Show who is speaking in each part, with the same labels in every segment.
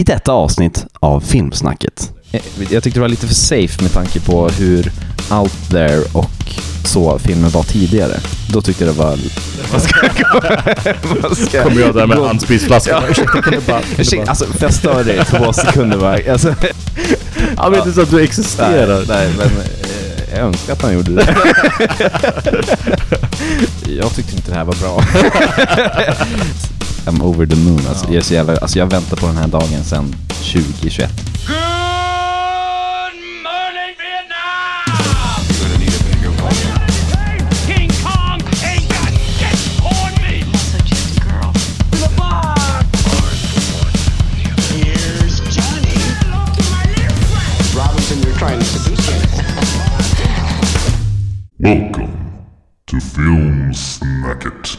Speaker 1: i detta avsnitt av Filmsnacket.
Speaker 2: Eh, Jag tyckte det var lite för safe med tanke på hur out there och så filmen var tidigare. Då tyckte jag det var... Vad ska jag Vad ska
Speaker 3: Kommer jag där med handspritflaskan?
Speaker 2: Ursäkta, alltså jag stör dig i två sekunder bara. Alltså,
Speaker 3: Han vet inte så att du existerar.
Speaker 2: nej, nej, men eh, jag önskar att han gjorde det. jag tyckte inte det här var bra. I'm over the moon. Alltså, jag, är så jävla, alltså, jag väntar på den här dagen sedan 2021.
Speaker 4: Good morning, Vietnam! King Kong ain't got shit on me!
Speaker 5: also just a girl.
Speaker 6: Here's Johnny. Robinson, you're trying to seduce me.
Speaker 7: Welcome to Film Snacket.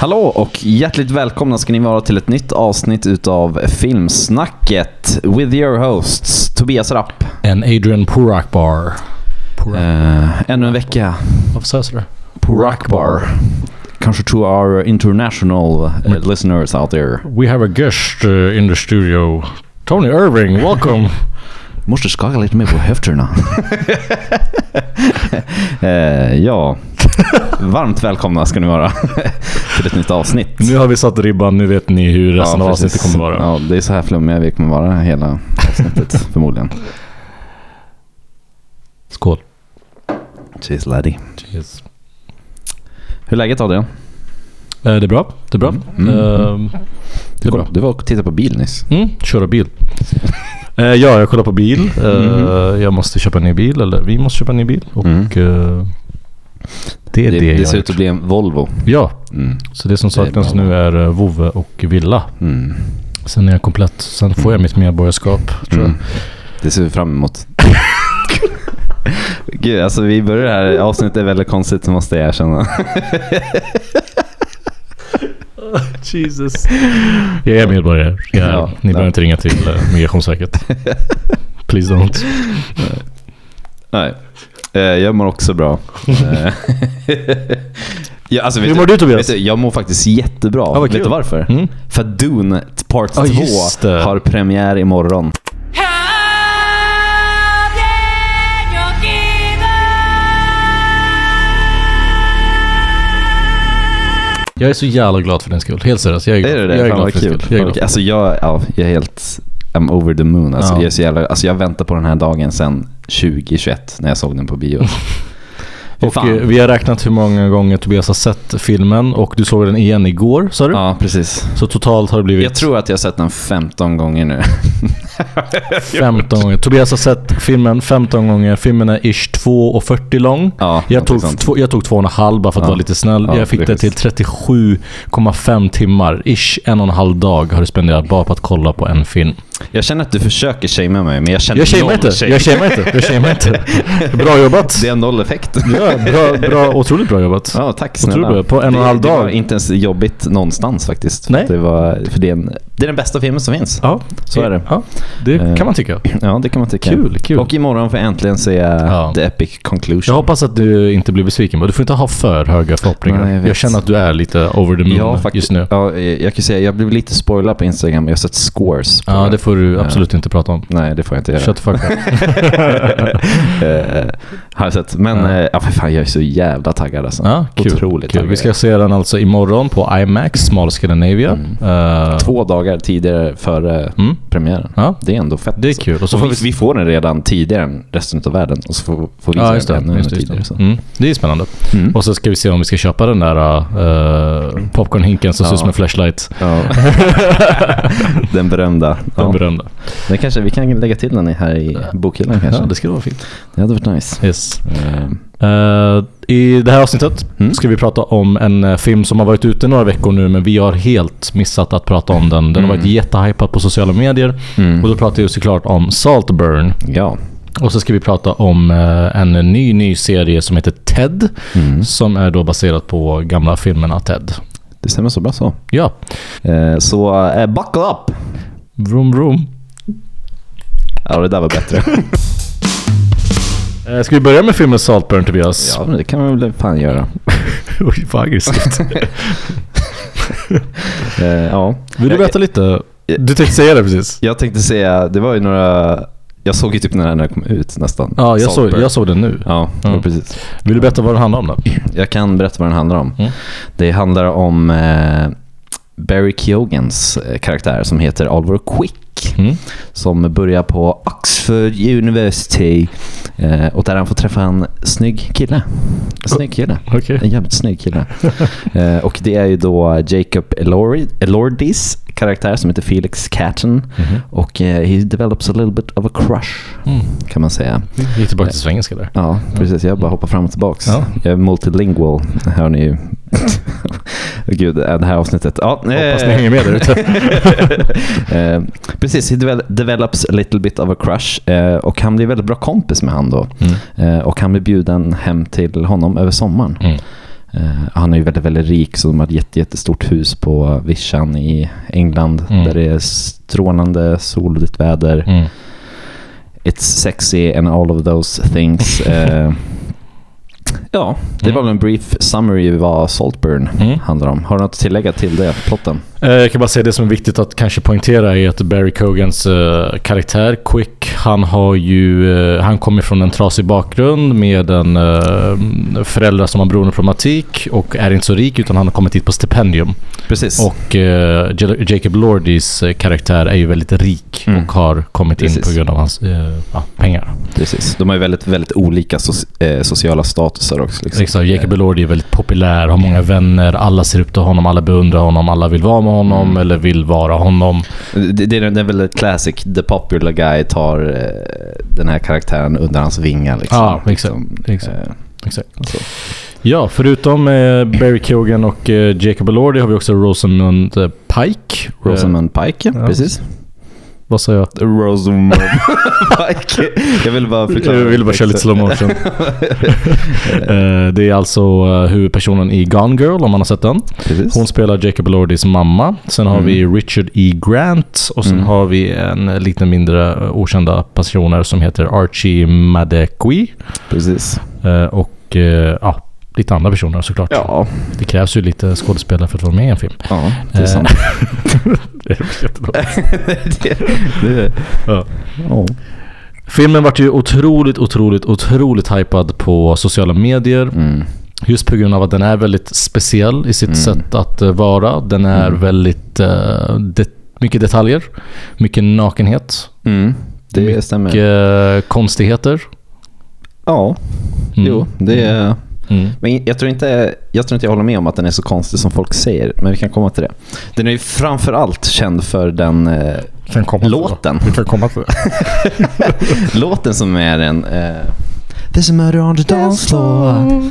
Speaker 2: Hallå och hjärtligt välkomna ska ni vara till ett nytt avsnitt utav Filmsnacket with your hosts Tobias Rapp.
Speaker 8: En Adrian Purakbar.
Speaker 2: Eh, ännu en vecka
Speaker 8: Varför sa jag sådär?
Speaker 2: på Rockbar. Kanske to our international eh, listeners out there.
Speaker 8: We have a guest uh, in the studio. Tony Irving, welcome!
Speaker 2: Måste skaka lite mer på höfterna. eh, ja, varmt välkomna ska ni vara till ett nytt avsnitt.
Speaker 8: nu har vi satt ribban, nu vet ni hur resten av
Speaker 2: precis.
Speaker 8: avsnittet kommer vara.
Speaker 2: Ja, det är så här flummiga vi kommer vara hela avsnittet förmodligen.
Speaker 8: Skål.
Speaker 2: Cheers laddie. Hur är läget Adrian?
Speaker 8: Eh, det är bra, det är bra. Ehm, det är bra.
Speaker 2: Du var och tittade på bil nyss.
Speaker 8: Mm, köra bil. Eh, ja, jag kollar på bil. Eh, Jag måste köpa en ny bil, eller vi måste köpa en ny bil. Och eh, det är det,
Speaker 2: Det, det,
Speaker 8: jag har
Speaker 2: ser
Speaker 8: gjort.
Speaker 2: ut att bli en Volvo.
Speaker 8: Ja,
Speaker 2: Mm.
Speaker 8: så det som
Speaker 2: Det är
Speaker 8: saknas
Speaker 2: bra.
Speaker 8: nu är eh, vovve och villa.
Speaker 2: Mm.
Speaker 8: Sen är jag komplett. Sen får jag mitt medborgarskap, tror jag.
Speaker 2: Mm. Det ser vi fram emot. Gud, alltså vi börjar det här avsnittet är väldigt konstigt måste jag erkänna.
Speaker 8: Jesus. Jag är medborgare. Jag är,
Speaker 2: Ja,
Speaker 8: ni
Speaker 2: nej.
Speaker 8: behöver inte ringa till eh, Migrationsverket. Please don't.
Speaker 2: Nej. Eh, Jag mår också bra. Eh, ja, alltså, vet
Speaker 8: Hur mår du, Tobias?
Speaker 2: Vet du, jag mår faktiskt jättebra.
Speaker 8: vad
Speaker 2: vet
Speaker 8: kul.
Speaker 2: du varför?
Speaker 8: Mm.
Speaker 2: För att Dune Part 2
Speaker 8: Ja, just det.
Speaker 2: har premiär imorgon.
Speaker 4: How dare you give
Speaker 8: Jag är så jävla glad för din skull. Helt seriöst. Jag är glad,
Speaker 2: Är det det?
Speaker 8: Jag är
Speaker 2: Fan,
Speaker 8: glad
Speaker 2: vad
Speaker 8: för din
Speaker 2: kul.
Speaker 8: skull. Jag är glad.
Speaker 2: Okej, Alltså jag, ja, jag är helt... I'm over the moon. Alltså,
Speaker 8: Ja.
Speaker 2: jag, är så jävla, alltså, jag väntar på den här dagen sedan 2021 när jag såg den på bio. Fy
Speaker 8: Och
Speaker 2: fan.
Speaker 8: eh, vi har räknat hur många gånger Tobias har sett filmen och du såg den igen igår, sa du?
Speaker 2: ja, precis.
Speaker 8: Så totalt har det blivit
Speaker 2: Jag tror att jag har sett den 15 gånger nu.
Speaker 8: 15 gånger. Tobias har sett filmen 15 gånger. Filmen är ish 2.40 lång.
Speaker 2: Ja,
Speaker 8: jag,
Speaker 2: någonting
Speaker 8: tog
Speaker 2: sånt.
Speaker 8: två, jag tog 2,5 bara för att
Speaker 2: Ja.
Speaker 8: vara lite snäll.
Speaker 2: Ja,
Speaker 8: jag fick det till
Speaker 2: precis.
Speaker 8: 37,5 timmar. Ish en och en halv dag har du spenderat bara på att kolla på en film.
Speaker 2: Jag känner att du försöker shamea mig, men jag känner
Speaker 8: Jag shamear
Speaker 2: noll
Speaker 8: inte.
Speaker 2: shame.
Speaker 8: Jag shamear inte. Jag shamear inte. Bra jobbat.
Speaker 2: Det är noll effekt.
Speaker 8: Ja, bra, bra, otroligt bra jobbat.
Speaker 2: Ja, tack
Speaker 8: Vad tror
Speaker 2: snälla.
Speaker 8: du? På en och en
Speaker 2: Det-
Speaker 8: halv
Speaker 2: Det
Speaker 8: dag?
Speaker 2: var inte ens jobbigt någonstans faktiskt.
Speaker 8: Nej.
Speaker 2: Det, var, för det, är en, det är den bästa filmen som finns.
Speaker 8: Ja,
Speaker 2: Så är det. Eh.
Speaker 8: Ja, det kan man tycka.
Speaker 2: Ja, det kan man tycka.
Speaker 8: Kul, kul.
Speaker 2: Och imorgon får jag äntligen se
Speaker 8: Ja.
Speaker 2: The Epic Conclusion.
Speaker 8: Jag hoppas att du inte blir besviken. men Du får inte ha för höga förhoppningar.
Speaker 2: Nej, jag
Speaker 8: jag,
Speaker 2: vet.
Speaker 8: känner att du är lite over the moon
Speaker 2: Ja, faktiskt,
Speaker 8: just nu.
Speaker 2: Ja, eh, jag jag kan säga, jag blev lite spoilad på Instagram, men jag har sett scores. På
Speaker 8: Ja, det får du absolut inte prata om.
Speaker 2: Nej, det får jag inte göra.
Speaker 8: Shut the fuck up.
Speaker 2: Eh, har jag sett. Men
Speaker 8: Ja.
Speaker 2: eh, ja, för fan, jag är så jävla taggad alltså.
Speaker 8: Ja, kul.
Speaker 2: Otroligt
Speaker 8: kul.
Speaker 2: taggad.
Speaker 8: Vi ska se den alltså imorgon på IMAX, Small Scandinavia.
Speaker 2: Mm.
Speaker 8: Eh,
Speaker 2: Två dagar tidigare före
Speaker 8: Mm.
Speaker 2: premiären.
Speaker 8: Ja.
Speaker 2: Det är ändå fett.
Speaker 8: Det är
Speaker 2: alltså.
Speaker 8: kul. Och så
Speaker 2: Och
Speaker 8: får
Speaker 2: vi, vi får den redan tidigare än resten av världen. Och så får, får vi
Speaker 8: Ja,
Speaker 2: se
Speaker 8: just det.
Speaker 2: den ännu
Speaker 8: Just det, just
Speaker 2: tidigare.
Speaker 8: det.
Speaker 2: Så.
Speaker 8: Mm. det är spännande.
Speaker 2: Mm.
Speaker 8: Och så ska vi se om vi ska köpa den där eh, popcornhinken som ser ut som en flashlight.
Speaker 2: Ja. den berömda.
Speaker 8: Mm. Den
Speaker 2: ja.
Speaker 8: berömda.
Speaker 2: Den kanske, vi kan lägga till den här i bokhyllan kanske.
Speaker 8: Ja, det
Speaker 2: det...
Speaker 8: skulle vara fint.
Speaker 2: hade varit nice.
Speaker 8: Yes.
Speaker 2: Eh,
Speaker 8: Eh, I det här avsnittet
Speaker 2: Mm.
Speaker 8: ska vi prata om en eh, film som har varit ute några veckor nu men vi har helt missat att prata om den. Den har varit jättehypad på sociala medier.
Speaker 2: Mm.
Speaker 8: Och då pratar jag såklart om Saltburn.
Speaker 2: ja.
Speaker 8: Och så ska vi prata om eh, en ny, ny serie som heter Ted.
Speaker 2: Mm.
Speaker 8: Som är då baserat på gamla filmerna Ted.
Speaker 2: Det stämmer så bra så.
Speaker 8: Ja.
Speaker 2: Eh, så eh, buckle up!
Speaker 8: Vroom, vroom.
Speaker 2: Ja, det där var bättre.
Speaker 8: Eh, Ska vi börja med filmen Saltburn, Tobias?
Speaker 2: ja, men det kan man väl fan göra.
Speaker 8: Oj, vad aggressivt.
Speaker 2: Eh, ja.
Speaker 8: Vill du berätta lite
Speaker 3: Du tänkte säga det precis.
Speaker 2: Jag tänkte säga, det var ju några... Jag såg ju typ när den här kom ut nästan.
Speaker 8: Ja, jag såg,
Speaker 2: Saltburn.
Speaker 8: jag såg den nu.
Speaker 2: Ja, det var
Speaker 8: Mm.
Speaker 2: precis.
Speaker 8: Vill du berätta vad den handlar om då?
Speaker 2: Jag kan berätta vad den handlar om.
Speaker 8: Mm.
Speaker 2: Det handlar om eh, Barry Keogans eh, karaktär som heter Oliver Quick.
Speaker 8: Mm.
Speaker 2: Som börjar på Oxford University. Eh, och där han får träffa en snygg kille. En snygg kille.
Speaker 8: Okej.
Speaker 2: En jävligt snygg kille. eh, och det är ju då Jacob Elordi, Elordis karaktär som heter Felix Catton.
Speaker 8: Mhm.
Speaker 2: Och eh, he develops a little bit of a crush
Speaker 8: Mm.
Speaker 2: kan man säga.
Speaker 8: Gick tillbaka till svengelska där.
Speaker 2: Ja, precis. Jag bara hoppar fram och tillbaks.
Speaker 8: Ja.
Speaker 2: Jag är multilingual, hör ni ju. Gud, eh, det här avsnittet. Ja,
Speaker 8: Hoppas
Speaker 2: eh,
Speaker 8: ni hänger med där ute.
Speaker 2: eh, precis, he devel- develops a little bit of a crush eh, och han blir väldigt bra kompis med han då.
Speaker 8: Mm.
Speaker 2: Eh, och han blir bjuden hem till honom över sommaren.
Speaker 8: Mm.
Speaker 2: Eh, han är ju väldigt, väldigt rik så de har ett jätte, jättestort hus på vischan i England
Speaker 8: Mm.
Speaker 2: där det är strålande soligt väder.
Speaker 8: Mm.
Speaker 2: It's sexy and all of those things. Eh, ja, det var väl en brief summary vad Saltburn
Speaker 8: Mm.
Speaker 2: handlar om. Har du något att tillägga till det, plotten?
Speaker 8: Eh, Jag kan bara säga det som är viktigt att kanske poängtera är att Barry Cogans eh, karaktär Quick, han har ju... eh, han kommer från en trasig bakgrund med en eh, föräldrar som har beroendeproblematik och är inte så rik utan han har kommit hit på stipendium.
Speaker 2: Precis.
Speaker 8: Och eh, J- Jacob Lordys eh, karaktär är ju väldigt rik
Speaker 2: Mm.
Speaker 8: och har kommit in
Speaker 2: Precis.
Speaker 8: på grund av hans eh, ja, pengar.
Speaker 2: Precis. De har ju väldigt, väldigt olika soci- eh, sociala statusar också. Liksom.
Speaker 8: Exakt, Jacob Elordi är väldigt populär, har
Speaker 2: Mm.
Speaker 8: många vänner, alla ser upp till honom, alla beundrar honom, alla vill vara med honom
Speaker 2: Mm.
Speaker 8: eller vill vara honom.
Speaker 2: Det, det, är, det är väl ett classic, the popular guy tar eh, den här karaktären under hans vingar. Liksom.
Speaker 8: Ja, exakt.
Speaker 2: Liksom,
Speaker 8: Exakt.
Speaker 2: eh,
Speaker 8: Exakt.
Speaker 2: så.
Speaker 8: Ja, förutom eh, Barry Keoghan och eh, Jacob Elordi har vi också Rosamund eh, Pike. Eh,
Speaker 2: Rosamund Pike,
Speaker 8: Ja.
Speaker 2: precis.
Speaker 8: vad sa jag?
Speaker 2: Rosamund Pike. Jag vill bara förklara.
Speaker 8: Jag ville bara köra lite slow motion. Eh, det är alltså eh, huvudpersonen i Gone Girl, om man har sett den.
Speaker 2: Precis.
Speaker 8: Hon spelar Jacob Elordis mamma. Sen har
Speaker 2: Mm.
Speaker 8: vi Richard E. Grant och sen
Speaker 2: Mm.
Speaker 8: har vi en eh, lite mindre eh, okända personer som heter Archie Madekwi.
Speaker 2: Precis.
Speaker 8: Eh, och eh, ja, lite andra personer såklart.
Speaker 2: Ja,
Speaker 8: Det krävs ju lite skådespelare för att vara med i en film.
Speaker 2: ja det är
Speaker 8: Eh.
Speaker 2: sant.
Speaker 8: Det är jättebra.
Speaker 2: det, det,
Speaker 8: Ja.
Speaker 2: ja.
Speaker 8: Filmen vart ju otroligt, otroligt, otroligt hypad på sociala medier.
Speaker 2: Mm.
Speaker 8: Just på grund av att den är väldigt speciell i sitt
Speaker 2: Mm.
Speaker 8: sätt att eh, vara. Den är väldigt... eh, det, mycket detaljer, mycket nakenhet,
Speaker 2: Mm. Det
Speaker 8: Mycket-
Speaker 2: stämmer.
Speaker 8: mycket eh, konstigheter.
Speaker 2: Ja,
Speaker 8: Mm.
Speaker 2: jo. Det är,
Speaker 8: Mm.
Speaker 2: men jag tror, inte, jag tror inte jag håller med om att den är så konstig som folk säger. Men vi kan komma till det. Den är ju framförallt känd för den eh,
Speaker 8: Kan komma till det.
Speaker 2: låten.
Speaker 8: Vi kan komma till det.
Speaker 2: låten som är en... Eh, There's a murder on the dance floor.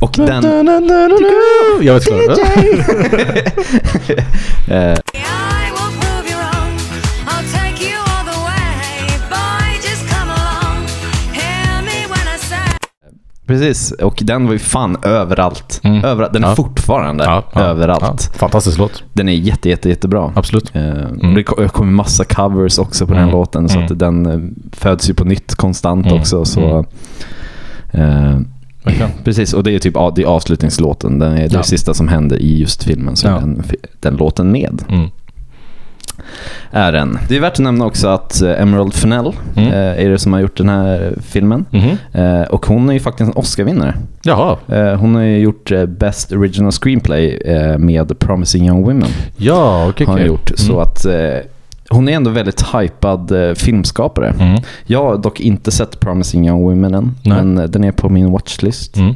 Speaker 2: Och den...
Speaker 8: Jag vet inte.
Speaker 5: I will prove you wrong. I'll take you all the way. Boy, just come along. Hear me when I say.
Speaker 2: Precis, och den var ju fan överallt.
Speaker 8: Mm.
Speaker 2: överallt. Den är
Speaker 8: Ja.
Speaker 2: fortfarande överallt.
Speaker 8: Ja. Fantastisk låt.
Speaker 2: Den är jätte, jätte, jättebra.
Speaker 8: Absolut.
Speaker 2: Eh, Det ko- kommer massa covers också på den
Speaker 8: Mm.
Speaker 2: låten så att
Speaker 8: Mm.
Speaker 2: den eh, föds ju på nytt konstant
Speaker 8: Mm.
Speaker 2: också. Så, eh,
Speaker 8: Verkligen.
Speaker 2: precis, och det är typ a- det är avslutningslåten. Den är det
Speaker 8: Ja.
Speaker 2: sista som händer i just filmen. Så är
Speaker 8: Ja.
Speaker 2: den, fi- den låten med
Speaker 8: Mm.
Speaker 2: är den. Det är värt att nämna också att eh, Emerald Fennell
Speaker 8: Mm.
Speaker 2: eh, är det som har gjort den här filmen.
Speaker 8: Mhm.
Speaker 2: Eh, Och hon är ju faktiskt en Oscar-vinnare.
Speaker 8: Jaha.
Speaker 2: Eh, Hon har ju gjort eh, Best Original Screenplay eh, med Promising Young Women.
Speaker 8: Ja, okej.
Speaker 2: har han
Speaker 8: okej. Mm.
Speaker 2: gjort. Så att eh, hon är ändå väldigt hypad eh, filmskapare.
Speaker 8: Mm.
Speaker 2: Jag har dock inte sett Promising Young Women än,
Speaker 8: Nej.
Speaker 2: men eh, den är på min watchlist.
Speaker 8: Mm.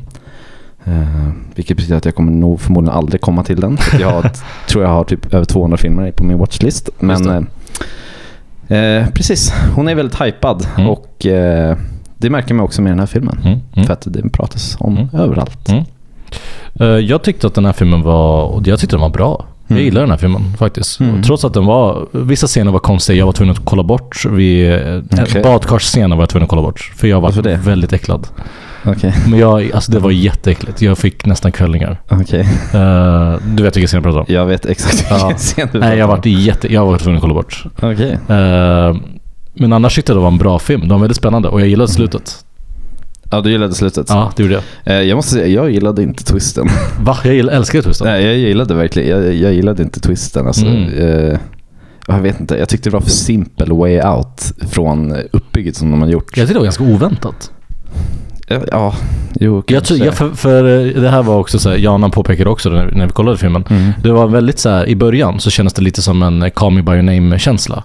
Speaker 2: Eh, vilket betyder att jag kommer nog förmodligen aldrig komma till den. För att Jag har, t- tror jag har typ över 200 filmer på min watchlist. Men eh, eh, precis, hon är väldigt hypad
Speaker 8: Mm.
Speaker 2: och eh, det märker man också med den här filmen.
Speaker 8: Mm. Mm.
Speaker 2: För att det pratas om
Speaker 8: Mm.
Speaker 2: överallt.
Speaker 8: Eh, Jag tyckte att den här filmen var, och jag tyckte den var bra. Jag
Speaker 2: Mm.
Speaker 8: gillar den här filmen faktiskt.
Speaker 2: Mm.
Speaker 8: Och Trots att den var, vissa scener var konstiga, jag var tvungen att kolla bort. Vid, okay.
Speaker 2: Okej.
Speaker 8: Badkarsscenen var jag tvungen att kolla bort. För jag var
Speaker 2: Varför det?
Speaker 8: väldigt äcklad.
Speaker 2: Okej,
Speaker 8: Men jag, alltså det var jätteäckligt. Jag fick nästan kvällningar.
Speaker 2: okej.
Speaker 8: Eh, du vet vilken scen jag pratar om?
Speaker 2: Jag vet exakt vilken
Speaker 8: Ja.
Speaker 2: scen du
Speaker 8: Nej, jag var,
Speaker 2: pratar
Speaker 8: jätte, jag var tvungen att kolla bort.
Speaker 2: om. Okej.
Speaker 8: Eh, men annars tyckte jag det var en bra film. Den var väldigt spännande och jag
Speaker 2: Mm.
Speaker 8: gillade slutet.
Speaker 2: Ja, du gillade slutet.
Speaker 8: Ja, det gjorde jag.
Speaker 2: Eh, Jag måste säga, jag gillade inte twisten.
Speaker 8: Va? Jag gillar, älskade twisten.
Speaker 2: Nej, jag gillade verkligen, jag, jag gillade inte twisten. Alltså,
Speaker 8: Mm.
Speaker 2: eh, jag vet inte, jag tyckte det var för simpel way out från uppbygget som de har gjort.
Speaker 8: Jag tyckte det var ganska oväntat.
Speaker 2: Ja, ja jo
Speaker 8: Jag tror,
Speaker 2: kanske.
Speaker 8: jag, för, för eh, det här var också så här, Jana påpekade också när, när vi kollade filmen.
Speaker 2: Mm.
Speaker 8: Det var väldigt så här, i början så kändes det lite som en eh, Call me by your name-känsla.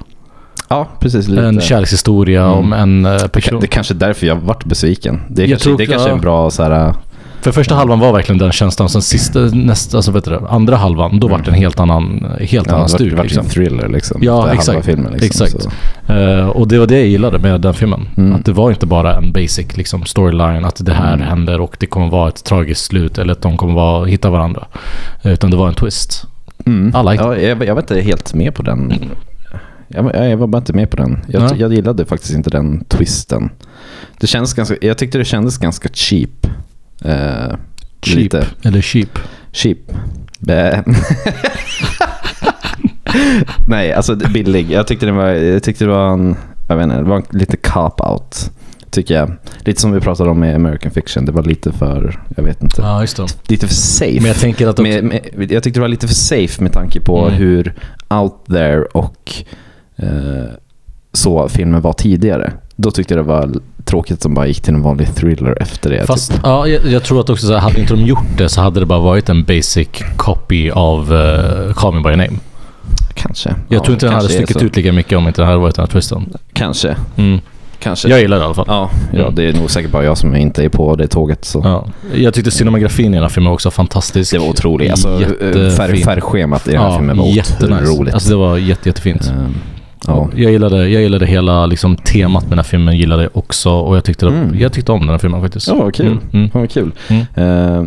Speaker 2: Ja, precis. Lite.
Speaker 8: En kärlekshistoria
Speaker 2: Mm.
Speaker 8: om en eh,
Speaker 2: det, ka-
Speaker 8: person.
Speaker 2: det kanske är därför jag vart besviken. Det är
Speaker 8: Jag
Speaker 2: kanske,
Speaker 8: tror-
Speaker 2: det är kanske
Speaker 8: ja.
Speaker 2: en bra så här,
Speaker 8: För första halvan var verkligen den känslan, sen sista, nästa, alltså vet du, det, andra halvan, då var det en helt annan, eh,
Speaker 2: Mm.
Speaker 8: helt
Speaker 2: ja,
Speaker 8: annan
Speaker 2: det vart,
Speaker 8: stuk.
Speaker 2: det vart
Speaker 8: liksom.
Speaker 2: en thriller liksom.
Speaker 8: Ja,
Speaker 2: Det är halva
Speaker 8: exakt.
Speaker 2: Filmen, liksom,
Speaker 8: Exakt.
Speaker 2: Så.
Speaker 8: Eh, och det var det jag gillade med den filmen.
Speaker 2: Mm.
Speaker 8: Att det var inte bara en basic liksom, storyline, att det här
Speaker 2: Mm.
Speaker 8: händer och det kommer vara ett tragiskt slut eller att de kommer vara, hitta varandra. Eh, Utan det var en twist.
Speaker 2: Mm.
Speaker 8: I like
Speaker 2: ja, jag, var- jag var inte helt med på den. Jag, var- jag var bara inte med på den. Jag,
Speaker 8: Nej.
Speaker 2: jag gillade faktiskt inte den twisten. Det känns ganska, jag tyckte det kändes ganska cheap. Eh,
Speaker 8: Cheap.
Speaker 2: Lite
Speaker 8: Eller cheap.
Speaker 2: cheap. Bä. Nej, alltså billig. Jag tyckte det var, jag tyckte det var en, jag vet inte, det var en, lite cop-out. Tycker jag. Lite som vi pratade om med American Fiction. Det var lite för, jag vet inte.
Speaker 8: Ja, just det.
Speaker 2: Lite för safe.
Speaker 8: Men jag tänker att...
Speaker 2: Med, med, jag tyckte det var lite för safe med tanke på
Speaker 8: Mm.
Speaker 2: hur out there och eh, så filmen var tidigare. Då tyckte jag det var l- tråkigt att de bara gick till en vanlig thriller efter det.
Speaker 8: Fast
Speaker 2: typ.
Speaker 8: ja, jag, jag tror att också så här, hade inte de gjort det så hade det bara varit en basic copy av uh, Call Me By Your Name.
Speaker 2: Kanske.
Speaker 8: Jag
Speaker 2: Ja,
Speaker 8: tror inte den hade
Speaker 2: kanske är
Speaker 8: stuckit
Speaker 2: så.
Speaker 8: ut lika mycket om inte den hade varit den här twisten.
Speaker 2: Kanske.
Speaker 8: Mm.
Speaker 2: Kanske.
Speaker 8: Jag gillar det i alla fall.
Speaker 2: ja, ja,
Speaker 8: Mm.
Speaker 2: det är nog säkert bara jag som inte är på det tåget. Så.
Speaker 8: Ja. Jag tyckte cinematografin i den här filmen var också fantastisk.
Speaker 2: Det var otroligt. Alltså,
Speaker 8: Jättefin.
Speaker 2: färg, färgschemat i den här filmen var
Speaker 8: jättenice.
Speaker 2: otroligt.
Speaker 8: Alltså det var jätte, jättefint.
Speaker 2: Ehm, ja.
Speaker 8: Jag gillade, jag gillade hela liksom, temat med den här filmen, gillade jag också och jag tyckte,
Speaker 2: Mm.
Speaker 8: jag tyckte om den här filmen faktiskt.
Speaker 2: Ja, vad kul.
Speaker 8: Mm, mm.
Speaker 2: Fan vad kul.
Speaker 8: Mm.
Speaker 2: Eh,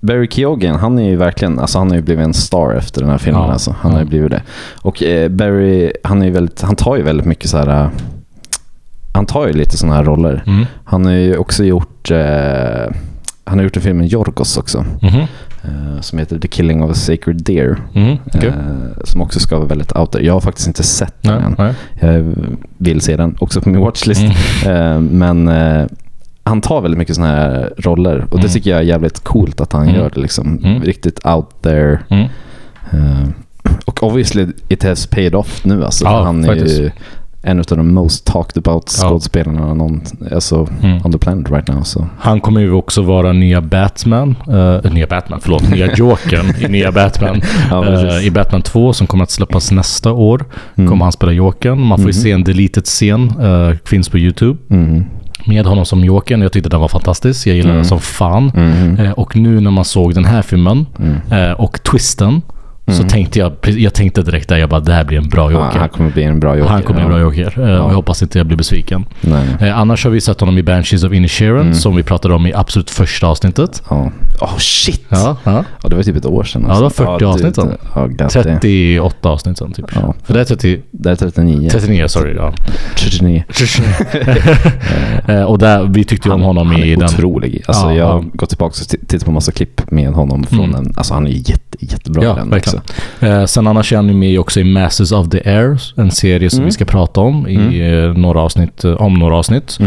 Speaker 2: Barry Keoghan, han är ju verkligen, alltså han har ju blivit en star efter den här filmen.
Speaker 8: Ja,
Speaker 2: Alltså. Han har ju
Speaker 8: ja.
Speaker 2: blivit det. Och eh, Barry, han, är ju väldigt, han tar ju väldigt mycket så här, eh, han tar ju lite sådana här roller.
Speaker 8: Mm.
Speaker 2: Han har ju också gjort, eh, han har gjort en film med Jorgos också,
Speaker 8: Mhm.
Speaker 2: eh, som heter The Killing of a Sacred Deer.
Speaker 8: Mhm. Okej.
Speaker 2: Eh, som också ska vara väldigt out there. Jag har faktiskt inte sett den
Speaker 8: Nej,
Speaker 2: än.
Speaker 8: nej.
Speaker 2: Jag vill se den också på min watchlist.
Speaker 8: Mm.
Speaker 2: Eh, Men eh, han tar väldigt mycket sådana här roller och det
Speaker 8: Mm.
Speaker 2: tycker jag är jävligt coolt att han
Speaker 8: Mm.
Speaker 2: gör det liksom.
Speaker 8: Mm.
Speaker 2: Riktigt out there.
Speaker 8: Mm.
Speaker 2: Eh, Och obviously it has paid off nu alltså.
Speaker 8: Ja,
Speaker 2: För han är ju
Speaker 8: faktiskt.
Speaker 2: en av de most talked about
Speaker 8: Ja.
Speaker 2: skådespelarna någon, alltså,
Speaker 8: Mm.
Speaker 2: on the planet right now. Så.
Speaker 8: Han kommer ju också vara nya Batman, eh, nya Batman, förlåt, nya Jokern i nya Batman.
Speaker 2: Ja,
Speaker 8: Eh,
Speaker 2: precis.
Speaker 8: I Batman 2 som kommer att släppas nästa år
Speaker 2: Mm.
Speaker 8: kommer han spela Jokern. Man får ju
Speaker 2: Mhm.
Speaker 8: se en deleted scen, eh, finns på YouTube,
Speaker 2: Mm.
Speaker 8: med honom som Jokern. Jag tyckte den var fantastisk, jag gillade
Speaker 2: Mm.
Speaker 8: den som fan.
Speaker 2: Mm.
Speaker 8: Eh, Och nu när man såg den här filmen
Speaker 2: Mm.
Speaker 8: eh, och twisten så tänkte jag, pre- jag tänkte direkt där, jag bara det här bli en bra
Speaker 2: Ja, han
Speaker 8: joker.
Speaker 2: kommer bli en bra joker.
Speaker 8: Han kommer bli en bra joker eh, och jag hoppas inte jag blir besviken.
Speaker 2: Nej.
Speaker 8: Eh, Annars har vi sett honom i Banshees of Inisherin
Speaker 2: Mm.
Speaker 8: som vi pratade om i absolut första avsnittet.
Speaker 2: Ja. Oh shit!
Speaker 8: Ja, ja.
Speaker 2: Ja, det var typ ett år sedan.
Speaker 8: Ja, det var
Speaker 2: alltså.
Speaker 8: 40 avsnitt
Speaker 2: det-
Speaker 8: sedan.
Speaker 2: Ja, gott det.
Speaker 8: 38 avsnitt sen typ.
Speaker 2: Ja.
Speaker 8: För det är 30,
Speaker 2: Det är 39.
Speaker 8: 39, sorry. Ja.
Speaker 2: 39.
Speaker 8: Eh, och där, vi tyckte ju om honom
Speaker 2: han
Speaker 8: i
Speaker 2: är
Speaker 8: den.
Speaker 2: otrolig. Alltså,
Speaker 8: Ja,
Speaker 2: jag har
Speaker 8: ja.
Speaker 2: gått tillbaka och t- tittat på massa klipp med honom. Från
Speaker 8: Mm.
Speaker 2: en, alltså, han är ju jätte, jättebra
Speaker 8: Ja,
Speaker 2: i den
Speaker 8: verkligen.
Speaker 2: också.
Speaker 8: Eh, sen annars är han ju med också i Masters of the Air, en serie
Speaker 2: Mm.
Speaker 8: som vi ska prata om i eh, några avsnitt, eh, om några
Speaker 2: Mm.
Speaker 8: avsnitt.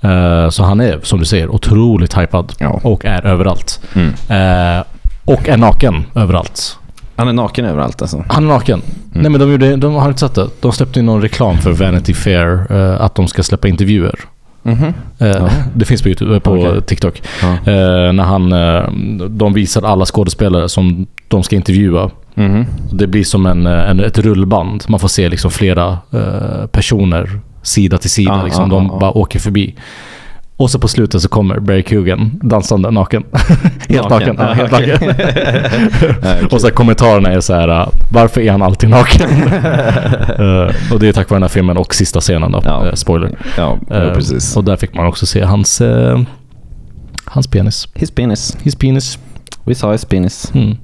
Speaker 8: Eh, så han är, som du säger, otroligt hypad
Speaker 2: Ja.
Speaker 8: och är överallt.
Speaker 2: Mm.
Speaker 8: Eh, och är naken överallt.
Speaker 2: Han är naken överallt alltså.
Speaker 8: Han är naken. Nej men de gjorde, de har du inte sett det. De släppte in någon reklam för Vanity Fair, eh, att de ska släppa intervjuer.
Speaker 2: Mm-hmm.
Speaker 8: Eh, Det finns på, YouTube, eh, på
Speaker 2: Okej.
Speaker 8: TikTok.
Speaker 2: Ja.
Speaker 8: Eh, när han, eh, de visar alla skådespelare som de ska intervjua.
Speaker 2: Mhm.
Speaker 8: Det blir som en, eh, en, ett rullband. Man får se liksom flera eh, personer sida till sida.
Speaker 2: Ja,
Speaker 8: liksom.
Speaker 2: ja,
Speaker 8: De
Speaker 2: ja, ja.
Speaker 8: bara åker förbi. Och så på slutet så kommer Barry Coogan dansande naken. helt naken. Ja, helt
Speaker 2: Ah, okej.
Speaker 8: naken.
Speaker 2: Ja, okej.
Speaker 8: Och så här, kommentarerna är så här, eh, varför är han alltid naken? Eh, och det är tack vare den här filmen och sista scenen då.
Speaker 2: Ja.
Speaker 8: Eh, spoiler.
Speaker 2: ja, ja,
Speaker 8: Eh,
Speaker 2: precis.
Speaker 8: Och där fick man också se hans, eh, hans penis.
Speaker 2: His penis.
Speaker 8: His penis.
Speaker 2: We saw his penis.
Speaker 8: Mm.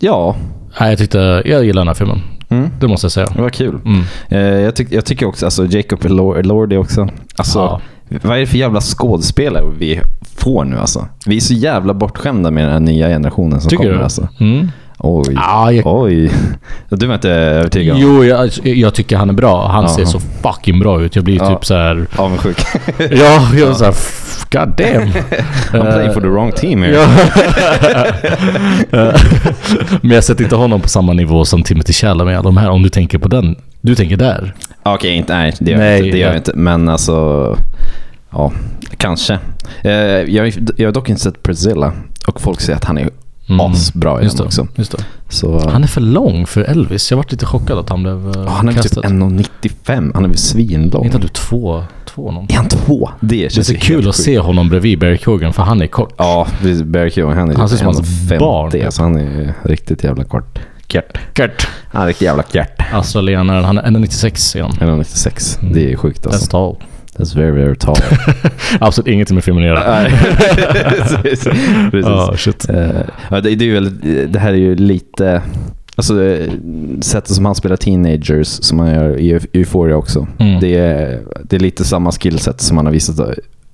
Speaker 2: Ja,
Speaker 8: Nej, jag tyckte, jag gillar den här filmen.
Speaker 2: Mm.
Speaker 8: Det måste jag säga.
Speaker 2: det var kul.
Speaker 8: Mm.
Speaker 2: Eh, jag, tyck, jag tycker också, alltså Jacob Elor- Elordi också. Alltså,
Speaker 8: Ja.
Speaker 2: vad är det för jävla skådespelare vi får nu alltså? Vi är så jävla bortskämda med den här nya generationen som
Speaker 8: Tycker
Speaker 2: kommer
Speaker 8: du?
Speaker 2: alltså.
Speaker 8: Mm.
Speaker 2: Oj.
Speaker 8: Ah, jag,
Speaker 2: Oj. Du var inte övertygad?
Speaker 8: jo, jag, jag tycker han är bra. Han ser
Speaker 2: Jaha.
Speaker 8: så fucking bra ut. Jag blir
Speaker 2: Ja.
Speaker 8: typ så här.
Speaker 2: Avundsjuk.
Speaker 8: Ja, jag är så här, "F- God damn.
Speaker 2: I'm playing for the wrong team here.
Speaker 8: Ja. Men jag sätter inte honom på samma nivå som Timothy Chalamet och de här, om du tänker på den. Du tänker där.
Speaker 2: Okej, inte, nej det gör
Speaker 8: Nej,
Speaker 2: jag inte. Det gör
Speaker 8: nej.
Speaker 2: jag inte. Men alltså, ja, kanske. Eh, jag, jag har dock inte sett Priscilla och folk säger att han är
Speaker 8: Mm.
Speaker 2: asbra i
Speaker 8: Just
Speaker 2: den
Speaker 8: det,
Speaker 2: också.
Speaker 8: Just det.
Speaker 2: Så,
Speaker 8: Han är för lång för Elvis. Jag varit lite chockad att han blev eh,
Speaker 2: Ja, han är väl typ
Speaker 8: kastad.
Speaker 2: 1,95. Han är väl svinlång.
Speaker 8: Är inte han typ två, två någon?
Speaker 2: Är han två? Det
Speaker 8: Det är
Speaker 2: känns
Speaker 8: så
Speaker 2: ju
Speaker 8: kul
Speaker 2: helt
Speaker 8: att
Speaker 2: sjukt.
Speaker 8: se honom bredvid Barry Cogan för han är kort.
Speaker 2: Ja, precis. Barry Keoghan, han är
Speaker 8: Han
Speaker 2: typ
Speaker 8: ser ut som hans
Speaker 2: 1,50,
Speaker 8: barn.
Speaker 2: Alltså, han är riktigt jävla kort. Kört.
Speaker 8: Kurt.
Speaker 2: Han är riktigt jävla kört.
Speaker 8: Australienaren. Alltså, Han är 1,96 är han.
Speaker 2: 1,96.
Speaker 8: Mm.
Speaker 2: Det är sjukt
Speaker 8: That's
Speaker 2: alltså.
Speaker 8: tall.
Speaker 2: That's very, very tall.
Speaker 8: Absolut ingenting med filmen att göra.
Speaker 2: Nej. precis. precis.
Speaker 8: Ja, shit.
Speaker 2: Eh, ja, det, det, är ju väldigt, det här är ju lite... Alltså eh, sättet som han spelar teenagers, som han gör i Eu- Euphoria också.
Speaker 8: Mm.
Speaker 2: Det, är, det är lite samma skillset som han har visat,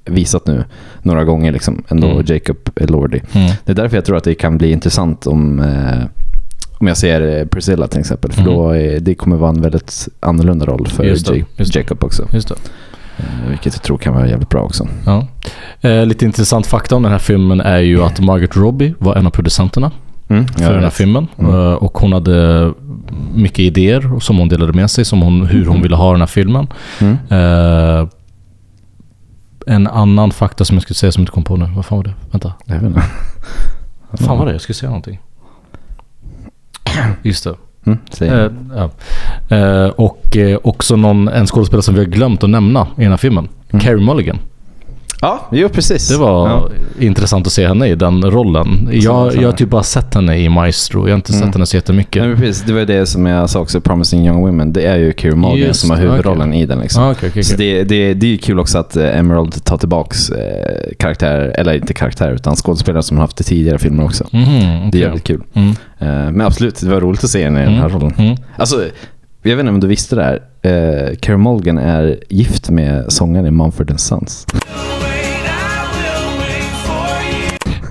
Speaker 2: visat nu några gånger, liksom, ändå
Speaker 8: Mm.
Speaker 2: Jacob Elordi.
Speaker 8: Mm.
Speaker 2: Det är därför jag tror att det kan bli intressant om, eh, om jag ser eh, Priscilla till exempel. För
Speaker 8: Mm.
Speaker 2: då är, det kommer vara en väldigt annorlunda roll för
Speaker 8: Just det,
Speaker 2: Ja-
Speaker 8: just det.
Speaker 2: Jacob också.
Speaker 8: Just det.
Speaker 2: Eh, vilket jag tror kan vara jävligt bra också.
Speaker 8: Ja. Eh, lite intressant fakta om den här filmen är ju att Margaret Robbie var en av producenterna
Speaker 2: Mm,
Speaker 8: för
Speaker 2: jag
Speaker 8: den här
Speaker 2: vet.
Speaker 8: filmen.
Speaker 2: Mm.
Speaker 8: Eh, och hon hade mycket idéer som hon delade med sig, som hon, hur hon ville ha den här filmen.
Speaker 2: Mm.
Speaker 8: Eh, en annan fakta som jag skulle säga som jag inte kom på nu. Vad fan var det? Vänta.
Speaker 2: Jag vet inte.
Speaker 8: Vad fan var det? Jag skulle säga någonting. Just det.
Speaker 2: Mm, säg.
Speaker 8: Eh, ja. eh, och eh, också någon, en skådespelare som vi har glömt att nämna i den här filmen. Carey Mulligan.
Speaker 2: Ja, jo precis.
Speaker 8: Det var
Speaker 2: Mm. Ja.
Speaker 8: intressant att se henne i den rollen. Jag, jag har typ bara sett henne i Maestro. Jag har inte
Speaker 2: Mm.
Speaker 8: sett henne så
Speaker 2: Nej,
Speaker 8: jättemycket.
Speaker 2: men precis, det var det som jag sa också, Promising Young Women. Det är ju Keira Morgan
Speaker 8: Just
Speaker 2: som har
Speaker 8: det,
Speaker 2: huvudrollen
Speaker 8: okej.
Speaker 2: i den. Liksom.
Speaker 8: Ah, okay, okay,
Speaker 2: Så
Speaker 8: okay.
Speaker 2: det, det, det är ju kul också att eh, Emerald tar tillbaks eh, karaktär, eller inte karaktär, utan skådespelare som har haft i tidigare filmer också.
Speaker 8: Mhm,
Speaker 2: Det är
Speaker 8: okej.
Speaker 2: jävligt kul.
Speaker 8: Mm.
Speaker 2: Eh, men absolut, det var roligt att se henne i den här rollen.
Speaker 8: Mm.
Speaker 2: Alltså, jag vet inte om du visste det här. Eh, Keira Morgan är gift med sångaren i Mumford Sons.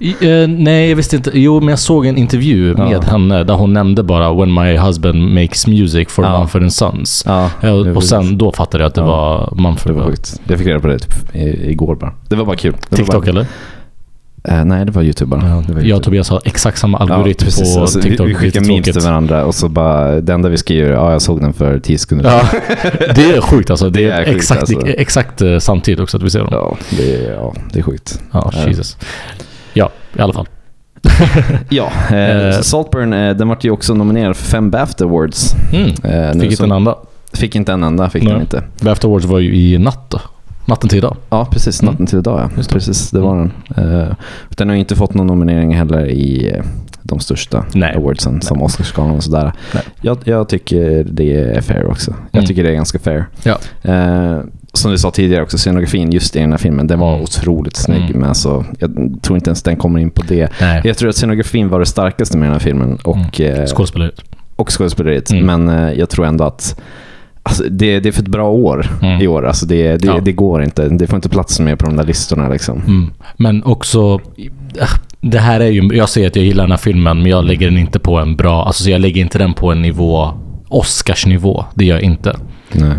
Speaker 8: I- eh, nej, jag visste inte. Jo, men jag såg en intervju
Speaker 2: Ja.
Speaker 8: med henne där hon nämnde bara “When my husband makes music for
Speaker 2: Ja.
Speaker 8: Mumford and Sons”.
Speaker 2: Ja,
Speaker 8: Eh,
Speaker 2: det var
Speaker 8: och sen då fattade jag att det
Speaker 2: Ja.
Speaker 8: var
Speaker 2: Det
Speaker 8: Mumford.
Speaker 2: var sjukt. Jag fick reda på det typ, i- igår bara. Det var bara kul. Det var
Speaker 8: TikTok
Speaker 2: bara,
Speaker 8: eller?
Speaker 2: Eh, nej, det var YouTube bara. Det var
Speaker 8: Jag
Speaker 2: YouTube.
Speaker 8: och Tobias har exakt samma algoritm
Speaker 2: Ja, precis.
Speaker 8: på
Speaker 2: Alltså, vi-
Speaker 8: TikTok.
Speaker 2: Vi skickar memes till
Speaker 8: Skittråkigt.
Speaker 2: varandra och så bara, det enda vi skriver är ja, jag såg den för 10 sekunder sedan."
Speaker 8: Ja, det är sjukt alltså. Det är,
Speaker 2: Det är sjukt,
Speaker 8: exakt,
Speaker 2: alltså.
Speaker 8: exakt eh, samtidigt också att vi ser dem.
Speaker 2: Ja, det, är- ja, det är sjukt.
Speaker 8: Ja,
Speaker 2: Ja.
Speaker 8: Jesus. Ja, i alla fall.
Speaker 2: Ja, eh,
Speaker 8: Eh.
Speaker 2: Saltburn, eh, den vart ju också nominerad för fem BAFTA Awards.
Speaker 8: Mm.
Speaker 2: Eh, nu
Speaker 8: Fick inte
Speaker 2: som-
Speaker 8: en anda.
Speaker 2: Fick inte en enda, fick
Speaker 8: Nej.
Speaker 2: den inte.
Speaker 8: Bafta Awards var ju i natt då. Natten till idag.
Speaker 2: Ja, precis. Natten till idag ja.
Speaker 8: Mm. Just det. Mm.
Speaker 2: precis, det var den. Eh, den har ju inte fått någon nominering heller i eh, de största
Speaker 8: Nej.
Speaker 2: awardsen som Oscarsgalan och sådär.
Speaker 8: Nej.
Speaker 2: Jag, jag tycker det är fair också. Jag
Speaker 8: Mm.
Speaker 2: tycker det är ganska fair.
Speaker 8: Ja.
Speaker 2: Eh, som du sa tidigare också, scenografin just i den här filmen, den var
Speaker 8: Mm.
Speaker 2: otroligt snygg.
Speaker 8: Mm.
Speaker 2: Men alltså, jag tror inte ens den kommer in på det.
Speaker 8: Nej. Mm.
Speaker 2: Jag tror att scenografin var det starkaste med den här filmen och, eh,
Speaker 8: Skådespeleriet.
Speaker 2: och skådespeleriet.
Speaker 8: Mm.
Speaker 2: Men eh, jag tror ändå att alltså, det, det är för ett bra år
Speaker 8: Mm.
Speaker 2: i år. Alltså, det, det,
Speaker 8: Ja.
Speaker 2: det går inte. Det får inte plats mer på de där listorna. Liksom.
Speaker 8: Mm. Men också... äh, Det här är ju... Jag säger att jag gillar den här filmen, men jag lägger den inte på en bra... Alltså så jag lägger inte den på en nivå... Oscarsnivå. Det gör jag inte.
Speaker 2: Nej.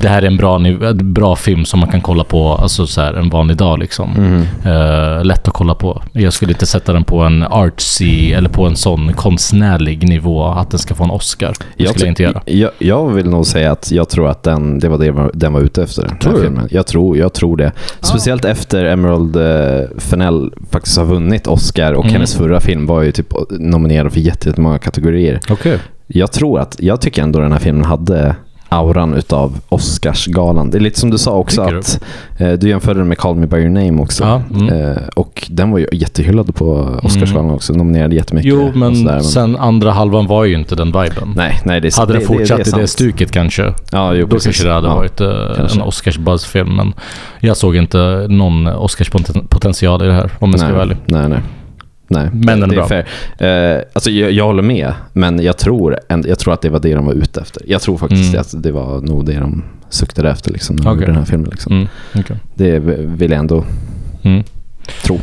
Speaker 8: Det här är en bra, niv- en bra film som man kan kolla på alltså så här, en vanlig dag. Liksom.
Speaker 2: Mm.
Speaker 8: Eh, lätt att kolla på. Jag skulle inte sätta den på en artsy eller på en sån konstnärlig nivå att den ska få en Oscar. Det skulle
Speaker 2: ty-
Speaker 8: jag inte göra.
Speaker 2: Jag, jag vill nog säga att jag tror att den, det var det var- den var ute efter. den
Speaker 8: Tror
Speaker 2: här
Speaker 8: du?
Speaker 2: filmen. Jag tror, jag tror det. Speciellt efter Emerald eh, Fennell faktiskt har vunnit Oscar och
Speaker 8: Mm.
Speaker 2: hennes förra film var ju typ nominerad för jätte- jättemånga kategorier.
Speaker 8: Okej.
Speaker 2: Jag tror att, jag tycker ändå den här filmen hade auran utav Oscarsgalan. Det är lite som du sa också
Speaker 8: Tycker du?
Speaker 2: att eh, du jämförde den med Call Me By Your Name också.
Speaker 8: Ja, mm.
Speaker 2: Eh, och den var ju jättehyllad på Oscarsgalan också. Nominerad jättemycket.
Speaker 8: Jo,
Speaker 2: och
Speaker 8: men,
Speaker 2: sådär,
Speaker 8: sen andra halvan var ju inte den viben.
Speaker 2: Nej, nej, det är
Speaker 8: Hade den
Speaker 2: det-
Speaker 8: fortsatt
Speaker 2: är
Speaker 8: i det
Speaker 2: sant.
Speaker 8: stuket kanske,
Speaker 2: Ja, jo,
Speaker 8: då kanske det hade
Speaker 2: Ja.
Speaker 8: varit eh,
Speaker 2: kanske.
Speaker 8: en Oscarsbuzz-film. Men jag såg inte någon Oscarspotential i det här, om jag ska vara ärlig.
Speaker 2: nej, nej, nej. Nej,
Speaker 8: Men den är
Speaker 2: det
Speaker 8: bra.
Speaker 2: fair. Eh, alltså, jag, jag håller med, men jag tror, en, jag tror att det var det de var ute efter. Jag tror faktiskt
Speaker 8: Mm.
Speaker 2: att det var nog det de suktade efter liksom, när de
Speaker 8: Mm, Okej.
Speaker 2: gjorde den här filmen. Liksom.
Speaker 8: Mm, okej.
Speaker 2: Det vill jag ändå
Speaker 8: mm.
Speaker 2: tro.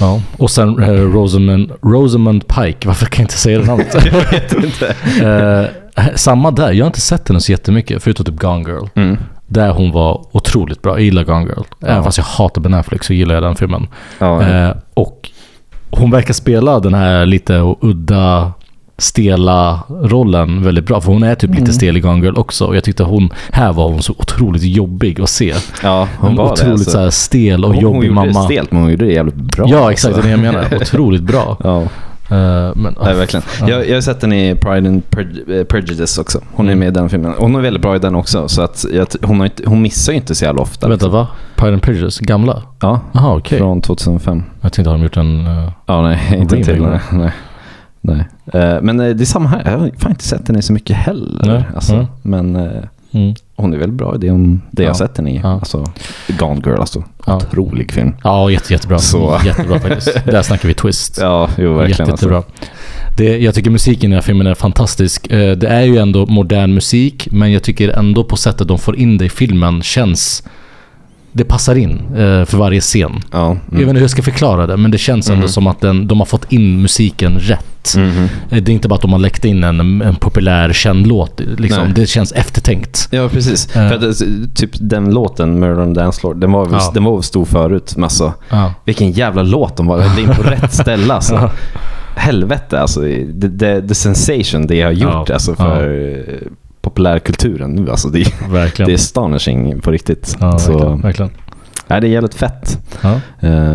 Speaker 8: Ja. Och sen eh, Rosamund, Rosamund Pike. Varför kan jag inte säga det namnet? jag vet inte. samma där. Jag har inte sett henne så jättemycket, förutom typ Gone Girl.
Speaker 2: Mm.
Speaker 8: Där hon var otroligt bra. Jag gillar Gone Girl. Även fast jag hatar Ben Affleck så gillar jag den filmen.
Speaker 2: Ja,
Speaker 8: Eh, och hon verkar spela den här lite udda, stela rollen väldigt bra. För hon är typ
Speaker 2: Mm.
Speaker 8: lite stel i Gone Girl också. Och jag tyckte hon, här var hon så otroligt jobbig att se.
Speaker 2: ja
Speaker 8: Hon
Speaker 2: hon var
Speaker 8: otroligt
Speaker 2: det. Alltså.
Speaker 8: så här stel och
Speaker 2: hon, hon
Speaker 8: jobbig
Speaker 2: gjorde
Speaker 8: mamma.
Speaker 2: det stelt, men hon gjorde det jävligt bra.
Speaker 8: Ja, exakt. Det är det jag menar. Otroligt bra.
Speaker 2: Ja,
Speaker 8: Eh, men,
Speaker 2: nej, verkligen.
Speaker 8: Ja.
Speaker 2: Jag, jag har sett henne i Pride and Prej- eh, Prejudice också. Hon
Speaker 8: Mm.
Speaker 2: är med i den filmen. Hon är väldigt bra i den också, så att jag, t- hon, har inte, hon missar ju inte så jävla ofta. liksom.
Speaker 8: Vänta, va? Pride and Prejudice? Gamla?
Speaker 2: Ja,
Speaker 8: Jaha, okej.
Speaker 2: från 2005.
Speaker 8: Jag tänkte, har de gjort en... eh,
Speaker 2: Ja, nej, inte en
Speaker 8: Remake,
Speaker 2: till.
Speaker 8: va?
Speaker 2: Nej. nej. nej. Eh, men eh, det är samma här. Jag har fan inte sett henne så mycket heller.
Speaker 8: Nej.
Speaker 2: Alltså.
Speaker 8: Mm.
Speaker 2: Men eh,
Speaker 8: mm.
Speaker 2: hon är väl bra i det, hon, det jag
Speaker 8: Ja.
Speaker 2: har sett henne i.
Speaker 8: Ja.
Speaker 2: Alltså, Gone Girl alltså.
Speaker 8: Ja.
Speaker 2: Otrolig film.
Speaker 8: Ja, jätte, jättebra.
Speaker 2: Så.
Speaker 8: Jättebra faktiskt. Där snackar vi twist.
Speaker 2: Ja, jo verkligen. alltså.
Speaker 8: Jättebra. Det, jag tycker musiken i den här filmen är fantastisk. Eh, Det är ju ändå modern musik, men jag tycker ändå på sättet de får in det i filmen känns... Det passar in eh, för varje scen.
Speaker 2: Ja, mm.
Speaker 8: Jag vet inte hur jag ska förklara det, men det känns ändå som att den, de har fått in musiken rätt.
Speaker 2: Mm. Mhm.
Speaker 8: Eh, Det är inte bara att de har läckt in en, en populär känd låt. Liksom.
Speaker 2: Nej.
Speaker 8: Det känns eftertänkt.
Speaker 2: Ja, precis. För att, alltså, typ den låten, Murder on the Dance Floor, den var, väl-
Speaker 8: Eh. Ja.
Speaker 2: den var väl stor förut. Men alltså,
Speaker 8: Ja.
Speaker 2: vilken jävla låt de var. Det är in på rätt ställe alltså. Helvete alltså. The, the, the sensation det har gjort
Speaker 8: Ja.
Speaker 2: alltså, för eh, populärkulturen nu. Alltså, det, är-
Speaker 8: Verkligen.
Speaker 2: det är astonishing på riktigt.
Speaker 8: ja,
Speaker 2: Så,
Speaker 8: verkligen. verkligen.
Speaker 2: nej, det är jävligt fett.
Speaker 8: Ja.
Speaker 2: Eh,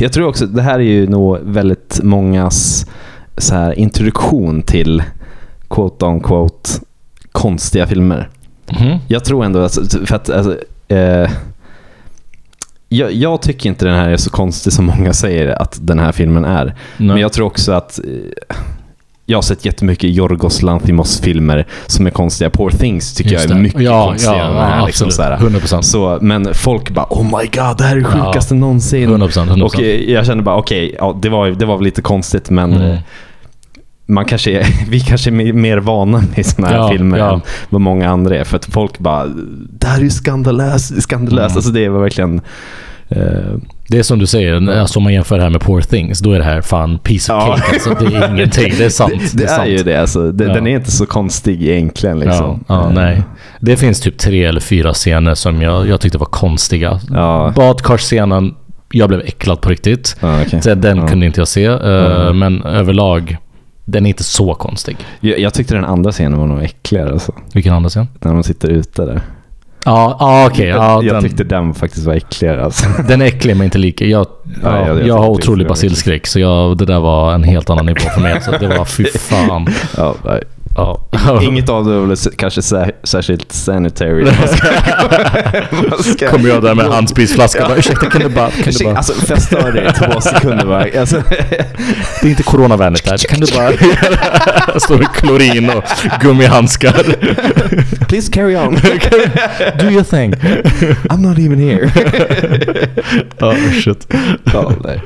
Speaker 2: jag tror också det här är ju nog väldigt mångas så här, introduktion till quote on quote konstiga filmer.
Speaker 8: Mhm.
Speaker 2: Jag tror ändå att, för att alltså, eh, jag, jag tycker inte den här är så konstig som många säger att den här filmen är.
Speaker 8: Nej.
Speaker 2: Men jag tror också att eh, jag har sett jättemycket Jorgos Lanthimos-filmer som är konstiga. Poor Things tycker
Speaker 8: Just
Speaker 2: jag är
Speaker 8: det.
Speaker 2: mycket
Speaker 8: ja,
Speaker 2: konstigare
Speaker 8: ja,
Speaker 2: än den här.
Speaker 8: ja,
Speaker 2: liksom,
Speaker 8: absolut.
Speaker 2: så här.
Speaker 8: 100%.
Speaker 2: Så, men folk bara oh my god, det här är det
Speaker 8: Ja.
Speaker 2: sjukaste någonsin.
Speaker 8: 100%. 100%.
Speaker 2: Och eh, jag kände bara okej, ja, det, var, det var väl lite konstigt men
Speaker 8: Mm.
Speaker 2: eh, man kanske är, vi kanske är mer- mer vana med sådana här
Speaker 8: Ja,
Speaker 2: filmer
Speaker 8: ja.
Speaker 2: än vad många andra är. För att folk bara, det här är ju skandalöst. skandalöst.
Speaker 8: Mm.
Speaker 2: Alltså det var verkligen... eh,
Speaker 8: Det är som du säger, alltså om man jämför det här med Poor Things, då är det här fan piece of
Speaker 2: Ja.
Speaker 8: cake. Alltså, det är ingenting, det är sant.
Speaker 2: det, det, är,
Speaker 8: sant.
Speaker 2: ju det. Alltså. Det,
Speaker 8: Ja.
Speaker 2: Den är inte så konstig egentligen.
Speaker 8: Ja,
Speaker 2: Liksom.
Speaker 8: ja,
Speaker 2: Eh,
Speaker 8: nej. Det finns typ tre eller fyra scener som jag, jag tyckte var konstiga.
Speaker 2: Ja.
Speaker 8: Badkarsscenen, jag blev äcklad på riktigt.
Speaker 2: Ja, okej.
Speaker 8: Så Den
Speaker 2: Ja.
Speaker 8: kunde inte jag se, eh,
Speaker 2: Mm.
Speaker 8: men överlag, den är inte så konstig.
Speaker 2: Jag, jag tyckte den andra scenen var nog äckligare. Alltså.
Speaker 8: Vilken andra scen?
Speaker 2: När de sitter ute där.
Speaker 8: Ja, ah, okej. ja,
Speaker 2: jag jag
Speaker 8: den,
Speaker 2: tyckte den faktiskt var äckligare. Alltså.
Speaker 8: den är äcklig men inte lika. Jag,
Speaker 2: Ja,
Speaker 8: ja,
Speaker 2: jag-
Speaker 8: jag,
Speaker 2: jag
Speaker 8: har
Speaker 2: tyckte
Speaker 8: otrolig
Speaker 2: det var äckligt.
Speaker 8: basilskräck, så jag, det där var en helt annan nivå för mig. Så Alltså, det var fy fan.
Speaker 2: ja, nej.
Speaker 8: Ja.
Speaker 2: Inget av det var väl s- kanske sä- särskilt sanitary. Man ska- man ska-
Speaker 8: Kommer jag där med handspritflaska bara, ursäkta kan du bara, kan du
Speaker 2: Ursäkta,
Speaker 8: bara
Speaker 2: Alltså, får jag störa dig i två sekunder bara? Alltså,
Speaker 8: det är inte coronavänligt där, kan du bara Står med klorin och gummihandskar.
Speaker 2: please carry on.
Speaker 8: Do your thing.
Speaker 2: I'm not even here.
Speaker 8: Ja, shit.
Speaker 2: ja, nej.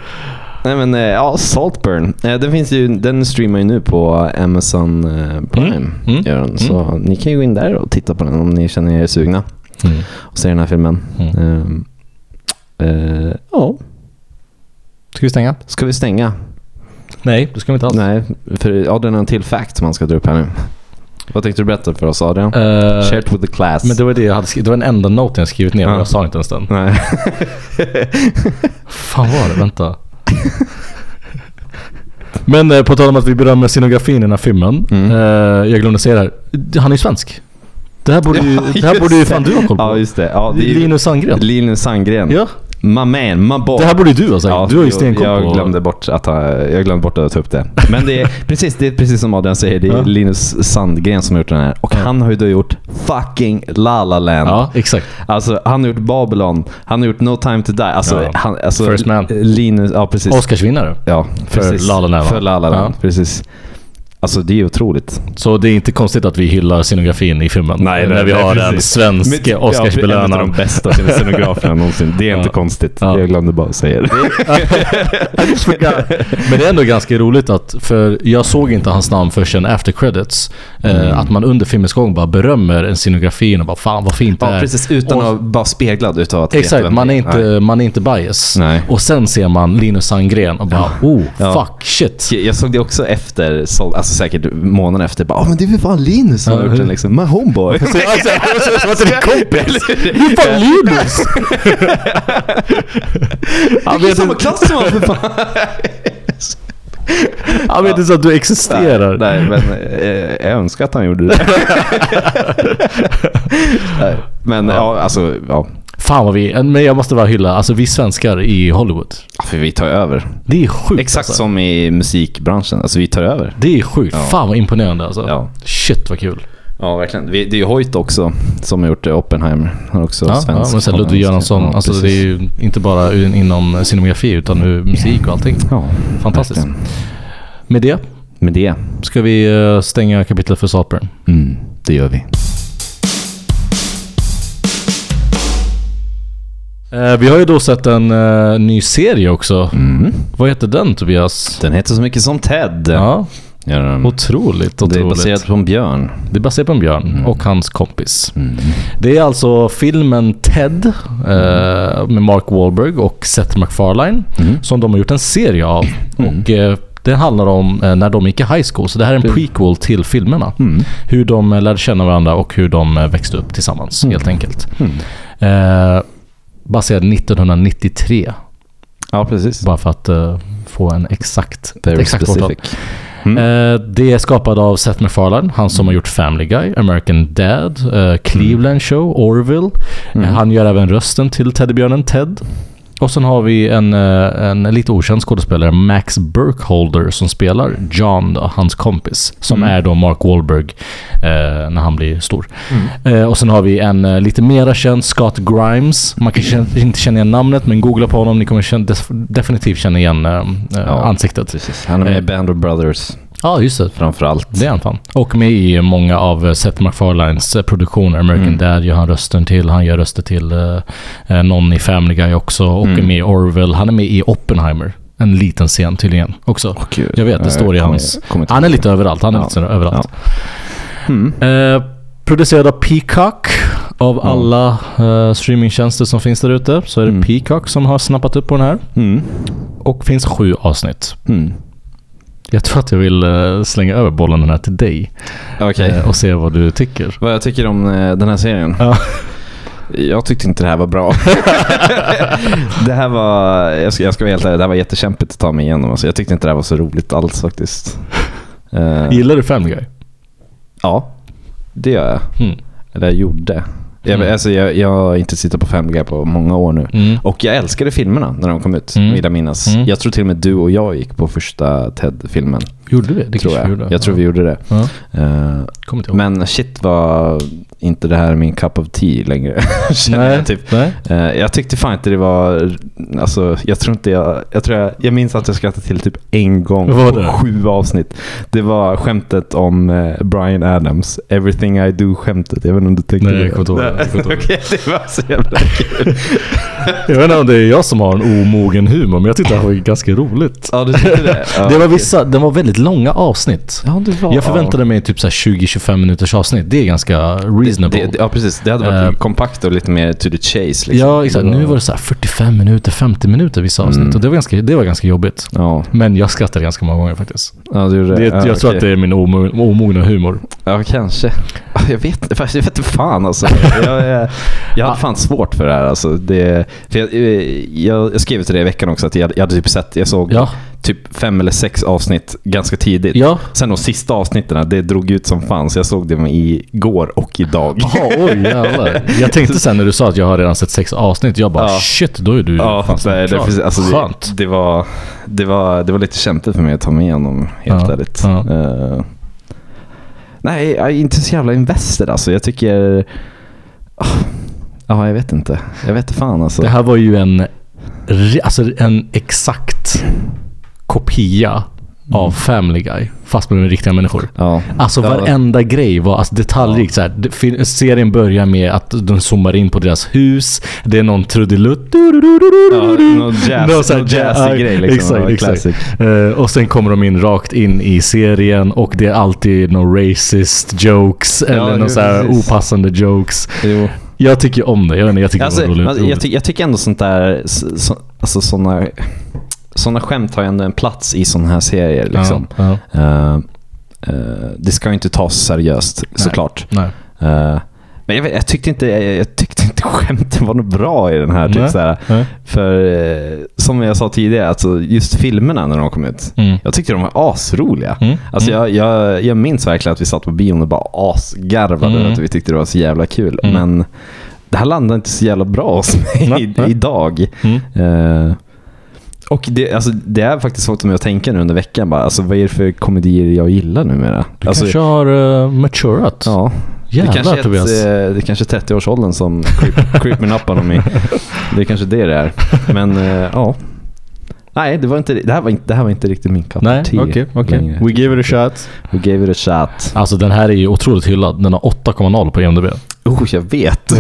Speaker 2: nej men eh, ja, Saltburn. Eh, Den, finns ju, den streamar ju nu på Amazon eh, Prime.
Speaker 8: Mm.
Speaker 2: Gör den. Så ni kan ju gå in där och titta på den om ni känner er sugna
Speaker 8: Mm.
Speaker 2: och se den här filmen.
Speaker 8: Mm.
Speaker 2: Ehm, eh, ja,
Speaker 8: Ska vi stänga?
Speaker 2: ska vi stänga?
Speaker 8: Nej, det ska vi inte alls.
Speaker 2: Nej, för Adrian har en till fact som han ska dra upp här nu. Vad tänkte du berätta för oss Adrian?
Speaker 8: Eh,
Speaker 2: Share it with the class.
Speaker 8: men det var det jag hade skrivit. Det var den enda noten jag skrivit ner, men
Speaker 2: Ja.
Speaker 8: jag sa inte ens den.
Speaker 2: Nej.
Speaker 8: Fan var det? Vänta. Men eh, på tal om att vi berömmer scenografin i den här filmen.
Speaker 2: Mm.
Speaker 8: Eh, jag glömde säga det här. Han är ju svensk. Det här borde ju, det här
Speaker 2: just
Speaker 8: borde ju
Speaker 2: det.
Speaker 8: fan du ha koll på.
Speaker 2: Ja, just det. Ja, det är ju-
Speaker 8: Linus Sandgren.
Speaker 2: Linus Sandgren.
Speaker 8: Ja.
Speaker 2: My man, my boy.
Speaker 8: Det här borde ju du ha sagt. du har ju
Speaker 2: jo,
Speaker 8: stenkoll
Speaker 2: jag,
Speaker 8: på...
Speaker 2: glömde bort att ha, jag glömde bort att ta upp det. Men det är precis, det är precis som Adrian säger, det är
Speaker 8: Ja.
Speaker 2: Linus Sandgren som har gjort den här. Och han har ju då gjort fucking La La Land.
Speaker 8: Ja, exakt.
Speaker 2: Alltså, han har gjort Babylon, han har gjort No Time To Die. Alltså,
Speaker 8: Ja.
Speaker 2: han, alltså
Speaker 8: First Man.
Speaker 2: Linus, ja precis.
Speaker 8: Oscarsvinnare.
Speaker 2: Ja,
Speaker 8: för
Speaker 2: precis.
Speaker 8: La La Land, va?
Speaker 2: För La La Land,
Speaker 8: Ja.
Speaker 2: precis. Alltså det är ju otroligt.
Speaker 8: Så det är inte konstigt att vi hyllar scenografin i filmen.
Speaker 2: Nej,
Speaker 8: när
Speaker 2: nej,
Speaker 8: vi
Speaker 2: nej,
Speaker 8: har den
Speaker 2: precis.
Speaker 8: svenske
Speaker 2: En av de
Speaker 8: Oscarsbelönaren.
Speaker 2: bästa scenograferna någonsin. Det är inte
Speaker 8: Ja.
Speaker 2: konstigt.
Speaker 8: Ja.
Speaker 2: Jag glömde bara säga det.
Speaker 8: Men det är ändå ganska roligt att, för jag såg inte hans namn förrän after credits.
Speaker 2: Mm.
Speaker 8: Eh, att man under filmens gång bara berömmer en scenografin och bara fan vad fint det
Speaker 2: Ja,
Speaker 8: är.
Speaker 2: precis. Utan
Speaker 8: Och-
Speaker 2: att vara speglad utav att veta
Speaker 8: Exakt,
Speaker 2: vem
Speaker 8: man är
Speaker 2: det
Speaker 8: inte,
Speaker 2: Nej.
Speaker 8: man är inte bias.
Speaker 2: Nej.
Speaker 8: Och sen ser man Linus Sandgren och bara oh,
Speaker 2: Ja.
Speaker 8: fuck shit.
Speaker 2: Jag såg det också efter, så- alltså säkert månaden efter. Bara, "Ja, men det är väl fan Linus som har
Speaker 8: Ja.
Speaker 2: gjort den liksom. My homeboy. Alltså, alltså, som att det är kompis. Det är fan Linus!
Speaker 8: Han vet,
Speaker 2: Samma
Speaker 8: inte,
Speaker 2: klass som han för fan.
Speaker 8: han vet inte så att du existerar.
Speaker 2: Nej, men eh, jag önskar att han gjorde det. Nej, men ja. alltså, ja.
Speaker 8: Fan vad vi, men jag måste bara hylla, alltså vi svenskar i Hollywood.
Speaker 2: För vi tar över.
Speaker 8: Det är sjukt
Speaker 2: Exakt
Speaker 8: alltså.
Speaker 2: som i musikbranschen. Alltså vi tar över.
Speaker 8: Det är sjukt.
Speaker 2: Ja.
Speaker 8: Fan vad imponerande alltså.
Speaker 2: Ja.
Speaker 8: Shit vad kul.
Speaker 2: Ja, verkligen. Vi, det är ju Hoyt också som har gjort eh, Oppenheimer. Han är också
Speaker 8: Ja, ja,
Speaker 2: svensk.
Speaker 8: men sen Ludvig Göransson.
Speaker 2: Ja,
Speaker 8: alltså
Speaker 2: precis. Mm.
Speaker 8: det är ju inte bara in- inom scenografi utan nu musik och allting.
Speaker 2: Ja,
Speaker 8: Fantastiskt.
Speaker 2: verkligen.
Speaker 8: Med det
Speaker 2: Med det,
Speaker 8: ska vi eh, stänga kapitlet för Saltburn.
Speaker 2: mm, det gör vi.
Speaker 8: Eh, vi har ju då sett en eh, ny serie också.
Speaker 2: Mm.
Speaker 8: Vad heter den Tobias?
Speaker 2: Den heter så mycket som Ted.
Speaker 8: Mm. Ja,
Speaker 2: Gör den.
Speaker 8: otroligt, otroligt.
Speaker 2: det är baserat på en björn.
Speaker 8: Det är baserat på en björn och hans kompis. Det är alltså filmen Ted eh, med Mark Wahlberg och Seth MacFarlane som de har gjort en serie av. Och, eh, det handlar om eh, när de gick i high school, så det här är en prequel till filmerna.
Speaker 2: Mm.
Speaker 8: Hur de eh, lärde känna varandra och hur de eh, växte upp tillsammans helt enkelt.
Speaker 2: Mm.
Speaker 8: Eh, baserad 1993,
Speaker 2: Ja, precis.
Speaker 8: bara för att eh, få en exakt, ett exakt årtal.
Speaker 2: specific.
Speaker 8: Eh, Det är skapad av Seth MacFarlane, han som har gjort Family Guy, American Dad, eh, Cleveland Show, Orville. Eh, Han gör även rösten till teddybjörnen Ted. Och sen har vi en, eh, en lite okänd skådespelare, Max Burkholder, som spelar John, då, hans kompis. Som är då Mark Wahlberg eh, när han blir stor. Eh, och sen har vi en eh, lite mera känd, Scott Grimes. Man kanske känner- inte känner igen namnet, men googla på honom. Ni kommer känna, def- definitivt känna igen eh, eh, ansiktet.
Speaker 2: Precis. Han är med i
Speaker 8: Eh.
Speaker 2: Band of Brothers
Speaker 8: Ja, just det.
Speaker 2: framför allt.
Speaker 8: Det är han fan. Och med i många av eh, Seth MacFarlanes eh, produktioner. American
Speaker 2: Mm.
Speaker 8: Dad gör han rösten till. Han gör röster till eh, eh, någon i Family Guy också. Och
Speaker 2: Mm.
Speaker 8: är med i Orville. Han är med i Oppenheimer. En liten scen tydligen också.
Speaker 2: Gud.
Speaker 8: Jag vet, det
Speaker 2: Jag Mm.
Speaker 8: står i
Speaker 2: Eh, kommer-
Speaker 8: hans...
Speaker 2: kommer inte
Speaker 8: Han är
Speaker 2: ihåg.
Speaker 8: lite överallt. Han är
Speaker 2: Ja.
Speaker 8: lite sådär överallt. Eh, producerad av Peacock. Av alla eh, streamingtjänster som finns där ute så är det
Speaker 2: Mm.
Speaker 8: Peacock som har snappat upp på den här. Och finns sju avsnitt.
Speaker 2: Mm.
Speaker 8: Jag tror att jag vill eh, slänga över bollen den här till dig
Speaker 2: Okej.
Speaker 8: eh, och se vad du tycker.
Speaker 2: Vad jag tycker om eh, den här serien?
Speaker 8: Ja.
Speaker 2: Jag tyckte inte det här var bra. det här var, jag ska, jag ska vara helt ärlig, det här var jättekämpigt att ta mig igenom. Alltså, jag tyckte inte det här var så roligt alls faktiskt. Eh,
Speaker 8: Gillar du Family Guy?
Speaker 2: ja, det gör jag.
Speaker 8: Mm.
Speaker 2: Eller jag gjorde. Jag,
Speaker 8: Mm.
Speaker 2: alltså, jag, jag har inte tittat på Family Guy på många år nu.
Speaker 8: Mm.
Speaker 2: Och jag älskade filmerna när de kom ut,
Speaker 8: Mm.
Speaker 2: vill jag minnas.
Speaker 8: Mm.
Speaker 2: Jag tror till och med du och jag gick på första Ted-filmen.
Speaker 8: Gjorde vi? Det
Speaker 2: tror
Speaker 8: kanske
Speaker 2: jag.
Speaker 8: gjorde.
Speaker 2: jag tror vi gjorde det.
Speaker 8: Ja.
Speaker 2: Eh,
Speaker 8: Kommer inte ihåg.
Speaker 2: men shit var inte det här min cup of tea längre. känner
Speaker 8: nej,
Speaker 2: jag typ.
Speaker 8: nej.
Speaker 2: Eh, Jag tyckte fan inte det var... Alltså, jag tror inte jag... Jag, tror jag, jag minns att jag skrattade till typ en gång
Speaker 8: Vad var
Speaker 2: på
Speaker 8: det?
Speaker 2: sju avsnitt. Det var skämtet om eh, Brian Adams. Everything I do-skämtet. Jag vet inte om du tänkte
Speaker 8: Nej,
Speaker 2: det.
Speaker 8: jag kommer inte ihåg det. Jag kommer inte ihåg det.
Speaker 2: Okej, det var så jävla kul.
Speaker 8: Jag vet inte om det är jag som har en omogen humor, men jag tyckte det här var ganska roligt.
Speaker 2: ja, du tyckte det? Ja,
Speaker 8: Det var vissa, det var väldigt långa avsnitt.
Speaker 2: Ja, det var...
Speaker 8: Jag förväntade mig typ så här 20-25 minuters avsnitt. Det är ganska reasonable.
Speaker 2: det, det, Ja, precis. Det hade varit
Speaker 8: Eh,
Speaker 2: kompakt och lite mer to the chase. Liksom. Mm.
Speaker 8: ja, exakt. Nu var det så här 45 minuter, 50 minuter vissa avsnitt och det var, ganska, det var ganska jobbigt.
Speaker 2: Ja,
Speaker 8: Men jag skrattade ganska många gånger faktiskt.
Speaker 2: ja du gjorde
Speaker 8: Det,
Speaker 2: det.
Speaker 8: jag
Speaker 2: ja,
Speaker 8: tror
Speaker 2: okej.
Speaker 8: att det är min omo- omogna humor.
Speaker 2: Ja, kanske. Jag vet inte, fast jag vet inte fan alltså. Jag, jag, jag hade fan svårt för det här alltså. Det, för jag, eh, jag, jag skrev till dig i veckan också att jag, jag hade typ sett, jag såg
Speaker 8: Ja.
Speaker 2: typ fem eller sex avsnitt ganska tidigt.
Speaker 8: Ja.
Speaker 2: Sen de sista avsnitten, det drog ut som fan så jag såg det igår och idag.
Speaker 8: Ja, oj jävlar. Jag tänkte sen när du sa att jag har redan sett sex avsnitt, jag bara
Speaker 2: Ja.
Speaker 8: shit, då är du
Speaker 2: Ja,
Speaker 8: fan
Speaker 2: det, det,
Speaker 8: klar.
Speaker 2: precis, alltså, det,
Speaker 8: Skönt.
Speaker 2: det, var, det, var, det var lite kämpigt för mig att ta mig igenom, helt
Speaker 8: Ja,
Speaker 2: ärligt.
Speaker 8: ja.
Speaker 2: Eh, nej, jag är inte så jävla invested alltså. Jag tycker... Ah, ja, jag vet inte. Jag vet inte fan alltså.
Speaker 8: Det här var ju en, re- alltså en exakt kopia av Family Guy. Fast med riktiga människor.
Speaker 2: Ja.
Speaker 8: Alltså
Speaker 2: Mm. Ja.
Speaker 8: varenda grej var alltså, detaljrikt. Så här, Det fin- serien börjar med att de zoomar in på deras hus. Det är någon trudelutt.
Speaker 2: Ja, någon jazz,
Speaker 8: Någon
Speaker 2: någon
Speaker 8: sån här
Speaker 2: jazzig
Speaker 8: ja,
Speaker 2: grej liksom.
Speaker 8: exakt,
Speaker 2: Ja,
Speaker 8: exakt.
Speaker 2: classic.
Speaker 8: Eh, och sen kommer de in rakt in i serien och det är alltid någon racist jokes eller
Speaker 2: jo,
Speaker 8: någon så här
Speaker 2: precis.
Speaker 8: opassande jokes.
Speaker 2: Jo.
Speaker 8: Jag tycker om det. Jag, vet inte, jag tycker
Speaker 2: Alltså,
Speaker 8: det var roligt.
Speaker 2: alltså, jag, ty- jag tycker ändå sånt där, så, så, alltså såna, såna skämt har ju ändå en plats i såna här serier liksom.
Speaker 8: Ja, ja.
Speaker 2: Eh, eh, det ska ju inte tas seriöst såklart.
Speaker 8: Nej.
Speaker 2: Eh, men jag, vet- jag, tyckte inte, jag, jag tyckte inte skämten var något bra i den här. Typ,
Speaker 8: Nej.
Speaker 2: såhär.
Speaker 8: Nej.
Speaker 2: För eh, som jag sa tidigare, alltså, just filmerna när de kom ut.
Speaker 8: Mm.
Speaker 2: Jag tyckte de var asroliga.
Speaker 8: Mm.
Speaker 2: Alltså, Jag, jag, jag minns verkligen att vi satt på bion och bara asgarvade
Speaker 8: Mm.
Speaker 2: över att vi tyckte det var så jävla kul.
Speaker 8: Mm.
Speaker 2: Men det här landade inte så jävla bra hos mig
Speaker 8: Nej, nej.
Speaker 2: idag.
Speaker 8: Mm.
Speaker 2: Eh, och det, alltså, det är faktiskt fått mig att tänka nu under veckan. Bara, alltså, vad är det för komedier jag gillar numera?
Speaker 8: Du
Speaker 2: Alltså,
Speaker 8: kanske har eh, maturat.
Speaker 2: ja, det
Speaker 8: Jävlar
Speaker 2: kanske, är ett,
Speaker 8: Tobias.
Speaker 2: eh, det kanske är 30-årsåldern som creep- creeping up honom i. Det är kanske det det är. Men eh, ja. Nej, det, var inte, det, här var inte, det här var inte riktigt min cup
Speaker 8: Nej,
Speaker 2: of tea
Speaker 8: okej, okej.
Speaker 2: längre.
Speaker 3: We give it a shot.
Speaker 2: We gave it a shot.
Speaker 8: Alltså den här är ju otroligt hyllad. Den har 8,0 på IMDB.
Speaker 2: Oh, jag vet.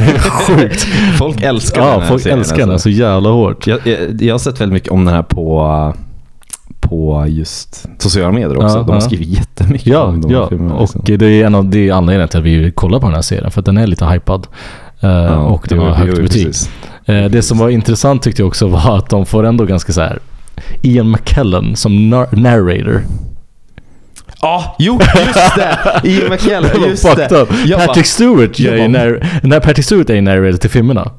Speaker 2: Sjukt. Folk älskar den
Speaker 8: Ja,
Speaker 2: här
Speaker 8: folk
Speaker 2: serien, alltså?
Speaker 8: älskar den så jävla hårt.
Speaker 2: Jag, jag, jag har sett väldigt mycket om den här på, på just sociala medier också.
Speaker 8: Ja,
Speaker 2: De har
Speaker 8: ja.
Speaker 2: skrivit jättemycket
Speaker 8: Ja,
Speaker 2: om de här
Speaker 8: ja.
Speaker 2: filmerna, liksom.
Speaker 8: och det är en av det är anledningen till att vi kollar på den här serien. För att den är lite hypad. Eh,
Speaker 2: Ja,
Speaker 8: och den
Speaker 2: jo,
Speaker 8: har
Speaker 2: jo,
Speaker 8: högt betyg.
Speaker 2: precis.
Speaker 8: Eh, det som var intressant tyckte jag också var att de får ändå ganska så här Ian McKellen som nar- narrator.
Speaker 2: Ja, jo, just det! Ian McKellen, just
Speaker 8: Fucked
Speaker 2: det.
Speaker 8: up.
Speaker 2: Jag bara-
Speaker 8: Patrick Stewart
Speaker 2: jag
Speaker 8: är ju
Speaker 2: bara-
Speaker 8: när, när Patrick Stewart är ju narrator till filmerna.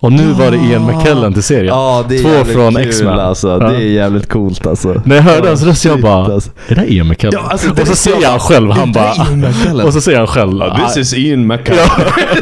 Speaker 8: Och nu var det Ian McKellen till serien.
Speaker 2: Ja, det är
Speaker 8: Två
Speaker 2: jävligt
Speaker 8: från
Speaker 2: kul,
Speaker 8: X-Men.
Speaker 2: Alltså.
Speaker 8: Ja.
Speaker 2: Det är jävligt coolt alltså.
Speaker 8: När jag hörde hans röst jag
Speaker 2: shit,
Speaker 8: bara,
Speaker 2: alltså.
Speaker 8: är det här Ian McKellen?
Speaker 2: Ja, alltså, det
Speaker 8: och så
Speaker 2: är
Speaker 8: ser
Speaker 2: jag
Speaker 8: jag han själv, han
Speaker 2: det
Speaker 8: bara...
Speaker 2: är Ian McKellen.
Speaker 8: Och så säger han själv... ah,
Speaker 2: This is Ian McKellen.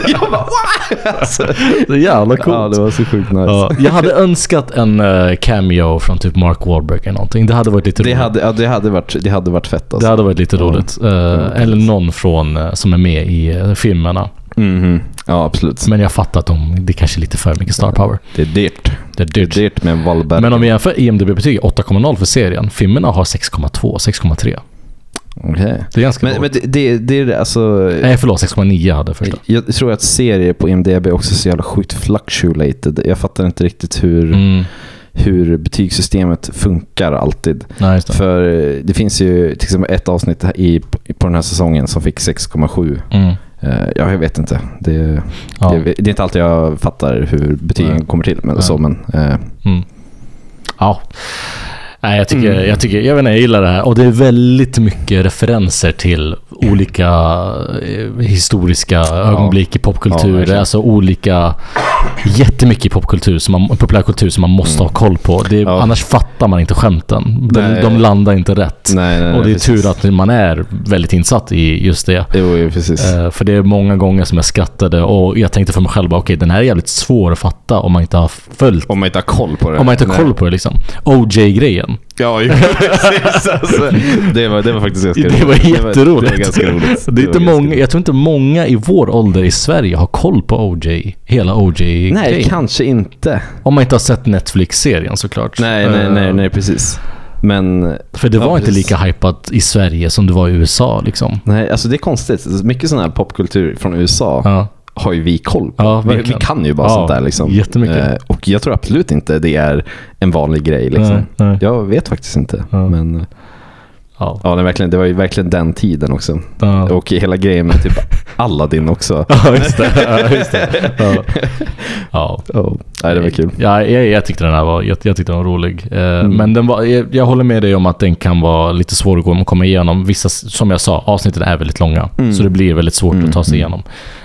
Speaker 2: jag bara, "What?" alltså.
Speaker 8: Det är jävla
Speaker 2: Ja,
Speaker 8: coolt.
Speaker 2: det var så sjukt nice.
Speaker 8: Ja, jag hade önskat en eh, cameo från typ Mark Wahlberg eller någonting. Det hade varit lite
Speaker 2: Det
Speaker 8: roligt.
Speaker 2: hade, ja, det, hade varit, det hade varit fett
Speaker 8: det
Speaker 2: alltså.
Speaker 8: hade varit lite roligt. Eh, eller någon från, eh, som är med i eh, filmerna.
Speaker 2: Mhm. Ja, absolut.
Speaker 8: Men jag fattar att de, det kanske är lite för mycket star power.
Speaker 2: Det är dyrt.
Speaker 8: Det är dyrt.
Speaker 2: Dyrt med en Wahlberg.
Speaker 8: Men om vi jämför IMDB-betyg 8,0 för serien. Filmerna har 6,2, 6,3.
Speaker 2: Okej.
Speaker 8: Det är ganska
Speaker 2: Men,
Speaker 8: lågt.
Speaker 2: men det, det, det är alltså...
Speaker 8: Nej förlåt, 6,9 hade jag första.
Speaker 2: Jag tror att serier på IMDB är också så jävla sjukt fluctuated. Jag fattar inte riktigt hur,
Speaker 8: Mm.
Speaker 2: hur betygssystemet funkar alltid.
Speaker 8: Nej, just det.
Speaker 2: För eh, det finns ju till exempel ett avsnitt här i, på den här säsongen som fick 6,7.
Speaker 8: Mm.
Speaker 2: Eh, Ja, jag vet inte. Det,
Speaker 8: Ja.
Speaker 2: det, det är inte alltid jag fattar hur betygen
Speaker 8: Nej.
Speaker 2: kommer till. Men,
Speaker 8: Nej.
Speaker 2: så, men, eh,
Speaker 8: Mm. Ja. Nej, jag tycker,
Speaker 2: Mm.
Speaker 8: jag tycker, jag vet inte, jag gillar det här. Och det är väldigt mycket referenser till olika eh, historiska ögonblick i
Speaker 2: Ja,
Speaker 8: popkultur.
Speaker 2: verkligen.
Speaker 8: alltså olika, jättemycket i popkultur, som man, populärkultur som man måste ha koll på. Det, är-
Speaker 2: Mm. Ja.
Speaker 8: Annars fattar man inte skämten. De,
Speaker 2: Nej.
Speaker 8: de landar inte rätt.
Speaker 2: nej, nej,
Speaker 8: Och det är
Speaker 2: nej, precis.
Speaker 8: tur att man är väldigt insatt i just det.
Speaker 2: Jo, jo, precis.
Speaker 8: Eh, För det är många gånger som jag skrattade och jag tänkte för mig själv bara, okej den här är jävligt svår att fatta om man inte har följt
Speaker 2: Om man inte har koll på det.
Speaker 8: om man inte har
Speaker 2: Nej.
Speaker 8: koll på det liksom. OJ-grejen.
Speaker 2: Ja, ju, precis. Alltså, det, var, det var faktiskt ganska
Speaker 8: Det var jätteroligt.
Speaker 2: Det var ganska roligt.
Speaker 8: Det är inte
Speaker 2: var ganska
Speaker 8: många, jag tror inte många i vår ålder i Sverige har koll på OJ. Hela OJ-grejen.
Speaker 2: Nej, kanske inte.
Speaker 8: Om man inte har sett Netflix-serien såklart.
Speaker 2: Nej, nej,
Speaker 8: Eh,
Speaker 2: nej, nej precis. Men
Speaker 8: För det
Speaker 2: Ja,
Speaker 8: var inte
Speaker 2: precis.
Speaker 8: lika hypat i Sverige som det var i USA liksom.
Speaker 2: nej, alltså det är konstigt. Mycket sån här popkultur från USA
Speaker 8: Ja.
Speaker 2: har ju vi koll på.
Speaker 8: Ja,
Speaker 2: vi, vi
Speaker 8: verkligen.
Speaker 2: kan ju bara
Speaker 8: Ja,
Speaker 2: sånt där liksom.
Speaker 8: jättemycket.
Speaker 2: Eh, och jag tror absolut inte det är en vanlig grej liksom.
Speaker 8: Nej, nej.
Speaker 2: Jag vet faktiskt inte. Men eh,
Speaker 8: Ja.
Speaker 2: ja, det, är verkligen, det var ju verkligen den tiden också.
Speaker 8: Ja.
Speaker 2: Och hela grejen med typ Aladdin också.
Speaker 8: Ja, just det. Ja, just det. Ja. Ja.
Speaker 2: Oh. Nej, det var kul.
Speaker 8: Eh,
Speaker 2: Mm.
Speaker 8: Ja, jag, jag tyckte den här var, jag, jag tyckte den var rolig. Eh, Men den var, jag, jag håller med dig om att den kan vara lite svår att gå- komma igenom. Vissa, s- som jag sa, avsnitten är väldigt långa.
Speaker 2: Mm.
Speaker 8: Så det blir väldigt svårt att ta sig igenom.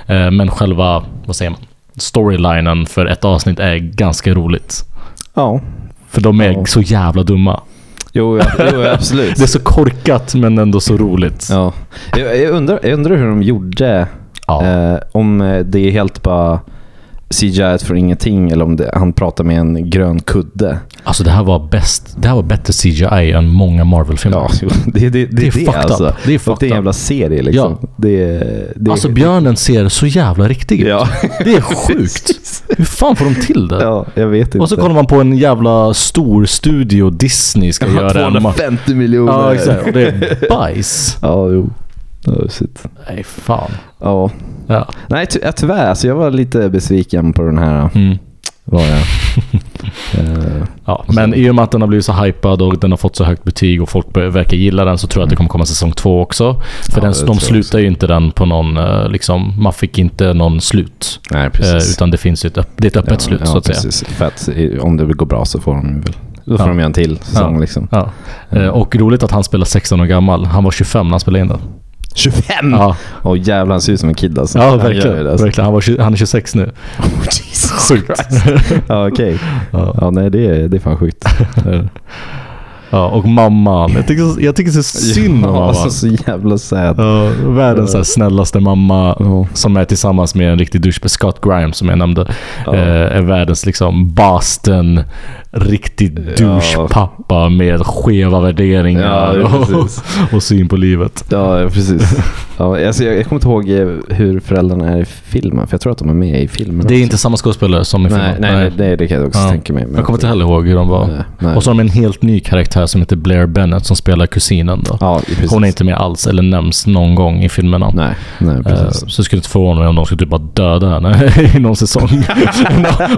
Speaker 8: Eh, Men själva, vad säger man? Storylinen för ett avsnitt är ganska roligt.
Speaker 2: Ja,
Speaker 8: För de är
Speaker 2: Ja.
Speaker 8: så jävla dumma.
Speaker 2: jo, ja, jo absolut.
Speaker 8: Det är så korkat men ändå så roligt.
Speaker 2: Ja. Jag, jag, undrar, jag undrar hur de gjorde.
Speaker 8: Ja.
Speaker 2: Eh, om eh, det är helt bara CGI från ingenting eller om det, han pratar med en grön kudde.
Speaker 8: Alltså det här var bäst. Det här var bättre CGI än många Marvel-filmer.
Speaker 2: Ja, jo, det, det, det,
Speaker 8: Det
Speaker 2: är
Speaker 8: är
Speaker 2: det
Speaker 8: fucked up.
Speaker 2: alltså.
Speaker 8: Det är
Speaker 2: Och det är
Speaker 8: fucked
Speaker 2: en
Speaker 8: up.
Speaker 2: jävla serie liksom.
Speaker 8: Ja.
Speaker 2: Det, är- det, är-
Speaker 8: Alltså björnen ser så jävla riktig ut.
Speaker 2: Ja.
Speaker 8: Det är sjukt. Hur fan får de till det?
Speaker 2: Ja, jag vet inte.
Speaker 8: Och så kollar man på en jävla stor studio Disney ska göra en ma-
Speaker 2: 250 miljoner.
Speaker 8: Ja, exakt. Och det är bajs.
Speaker 2: Ja, jo. Ja, shit.
Speaker 8: Nej, fan.
Speaker 2: Ja.
Speaker 8: Ja.
Speaker 2: Nej, ty ja, tyvärr. Alltså, jag var lite besviken på den här.
Speaker 8: Mm.
Speaker 2: Var jag. Eh,
Speaker 8: Ja, men i och med att den har blivit så hypad och den har fått så högt betyg och folk bör- verkar gilla den så tror jag att det kommer komma säsong två också. För
Speaker 2: Ja,
Speaker 8: den,
Speaker 2: det tror
Speaker 8: de
Speaker 2: jag
Speaker 8: slutar ju inte den på någon, eh, liksom, man fick inte någon slut.
Speaker 2: nej,
Speaker 8: Eh, Utan det finns ju ett, öpp, det är ett öppet slut
Speaker 2: ja,
Speaker 8: så att säga.
Speaker 2: precis. För att i- om det går bra så får de väl... Då får
Speaker 8: Ja.
Speaker 2: de göra en till säsong
Speaker 8: Ja.
Speaker 2: liksom.
Speaker 8: Ja. Eh, Och roligt att han spelar 16 år gammal. Han var 25 när han spelade in den.
Speaker 2: Mm. 25!
Speaker 8: Ja,
Speaker 2: Och jävlar, han ser ut som en kid alltså.
Speaker 8: ja
Speaker 2: Han gör
Speaker 8: verkligen.
Speaker 2: det, alltså. Oh,
Speaker 8: verkligen. Han, var, tju- han är 26 nu. Sjukt.
Speaker 2: Ja, okej.
Speaker 8: Ja.
Speaker 2: Ja, nej, det är, det är fan sjukt.
Speaker 8: Ja, och mamman. Jag tycker, jag tycker så synd om
Speaker 2: Ja,
Speaker 8: mamman.
Speaker 2: alltså, så jävla sad.
Speaker 8: Ja, världens så här snällaste mamma
Speaker 2: Ja.
Speaker 8: som är tillsammans med en riktig douche, Scott Grimes som jag nämnde. Eh, är världens liksom Boston, riktig douche-pappa med skeva värderingar
Speaker 2: Ja,
Speaker 8: och,
Speaker 2: precis.
Speaker 8: och syn på livet.
Speaker 2: Ja, precis. Ja, alltså, jag, jag kommer inte ihåg eh, hur föräldrarna är i filmen, för jag tror att de är med i filmen
Speaker 8: Det är
Speaker 2: också.
Speaker 8: inte samma skådespelare som i
Speaker 2: Nej,
Speaker 8: filmen.
Speaker 2: nej, nej. Det, det kan jag också
Speaker 8: Ja.
Speaker 2: tänka mig. men-
Speaker 8: Jag kommer inte heller ihåg hur de var.
Speaker 2: Nej, nej.
Speaker 8: Och så har de en helt ny karaktär som heter Blair Bennett som spelar kusinen. Då.
Speaker 2: Ja, precis.
Speaker 8: Hon är inte med alls eller nämns någon gång i filmerna.
Speaker 2: Nej, nej
Speaker 8: Eh,
Speaker 2: precis.
Speaker 8: Så det skulle inte förvåna mig om de skulle typ bara döda henne i någon säsong.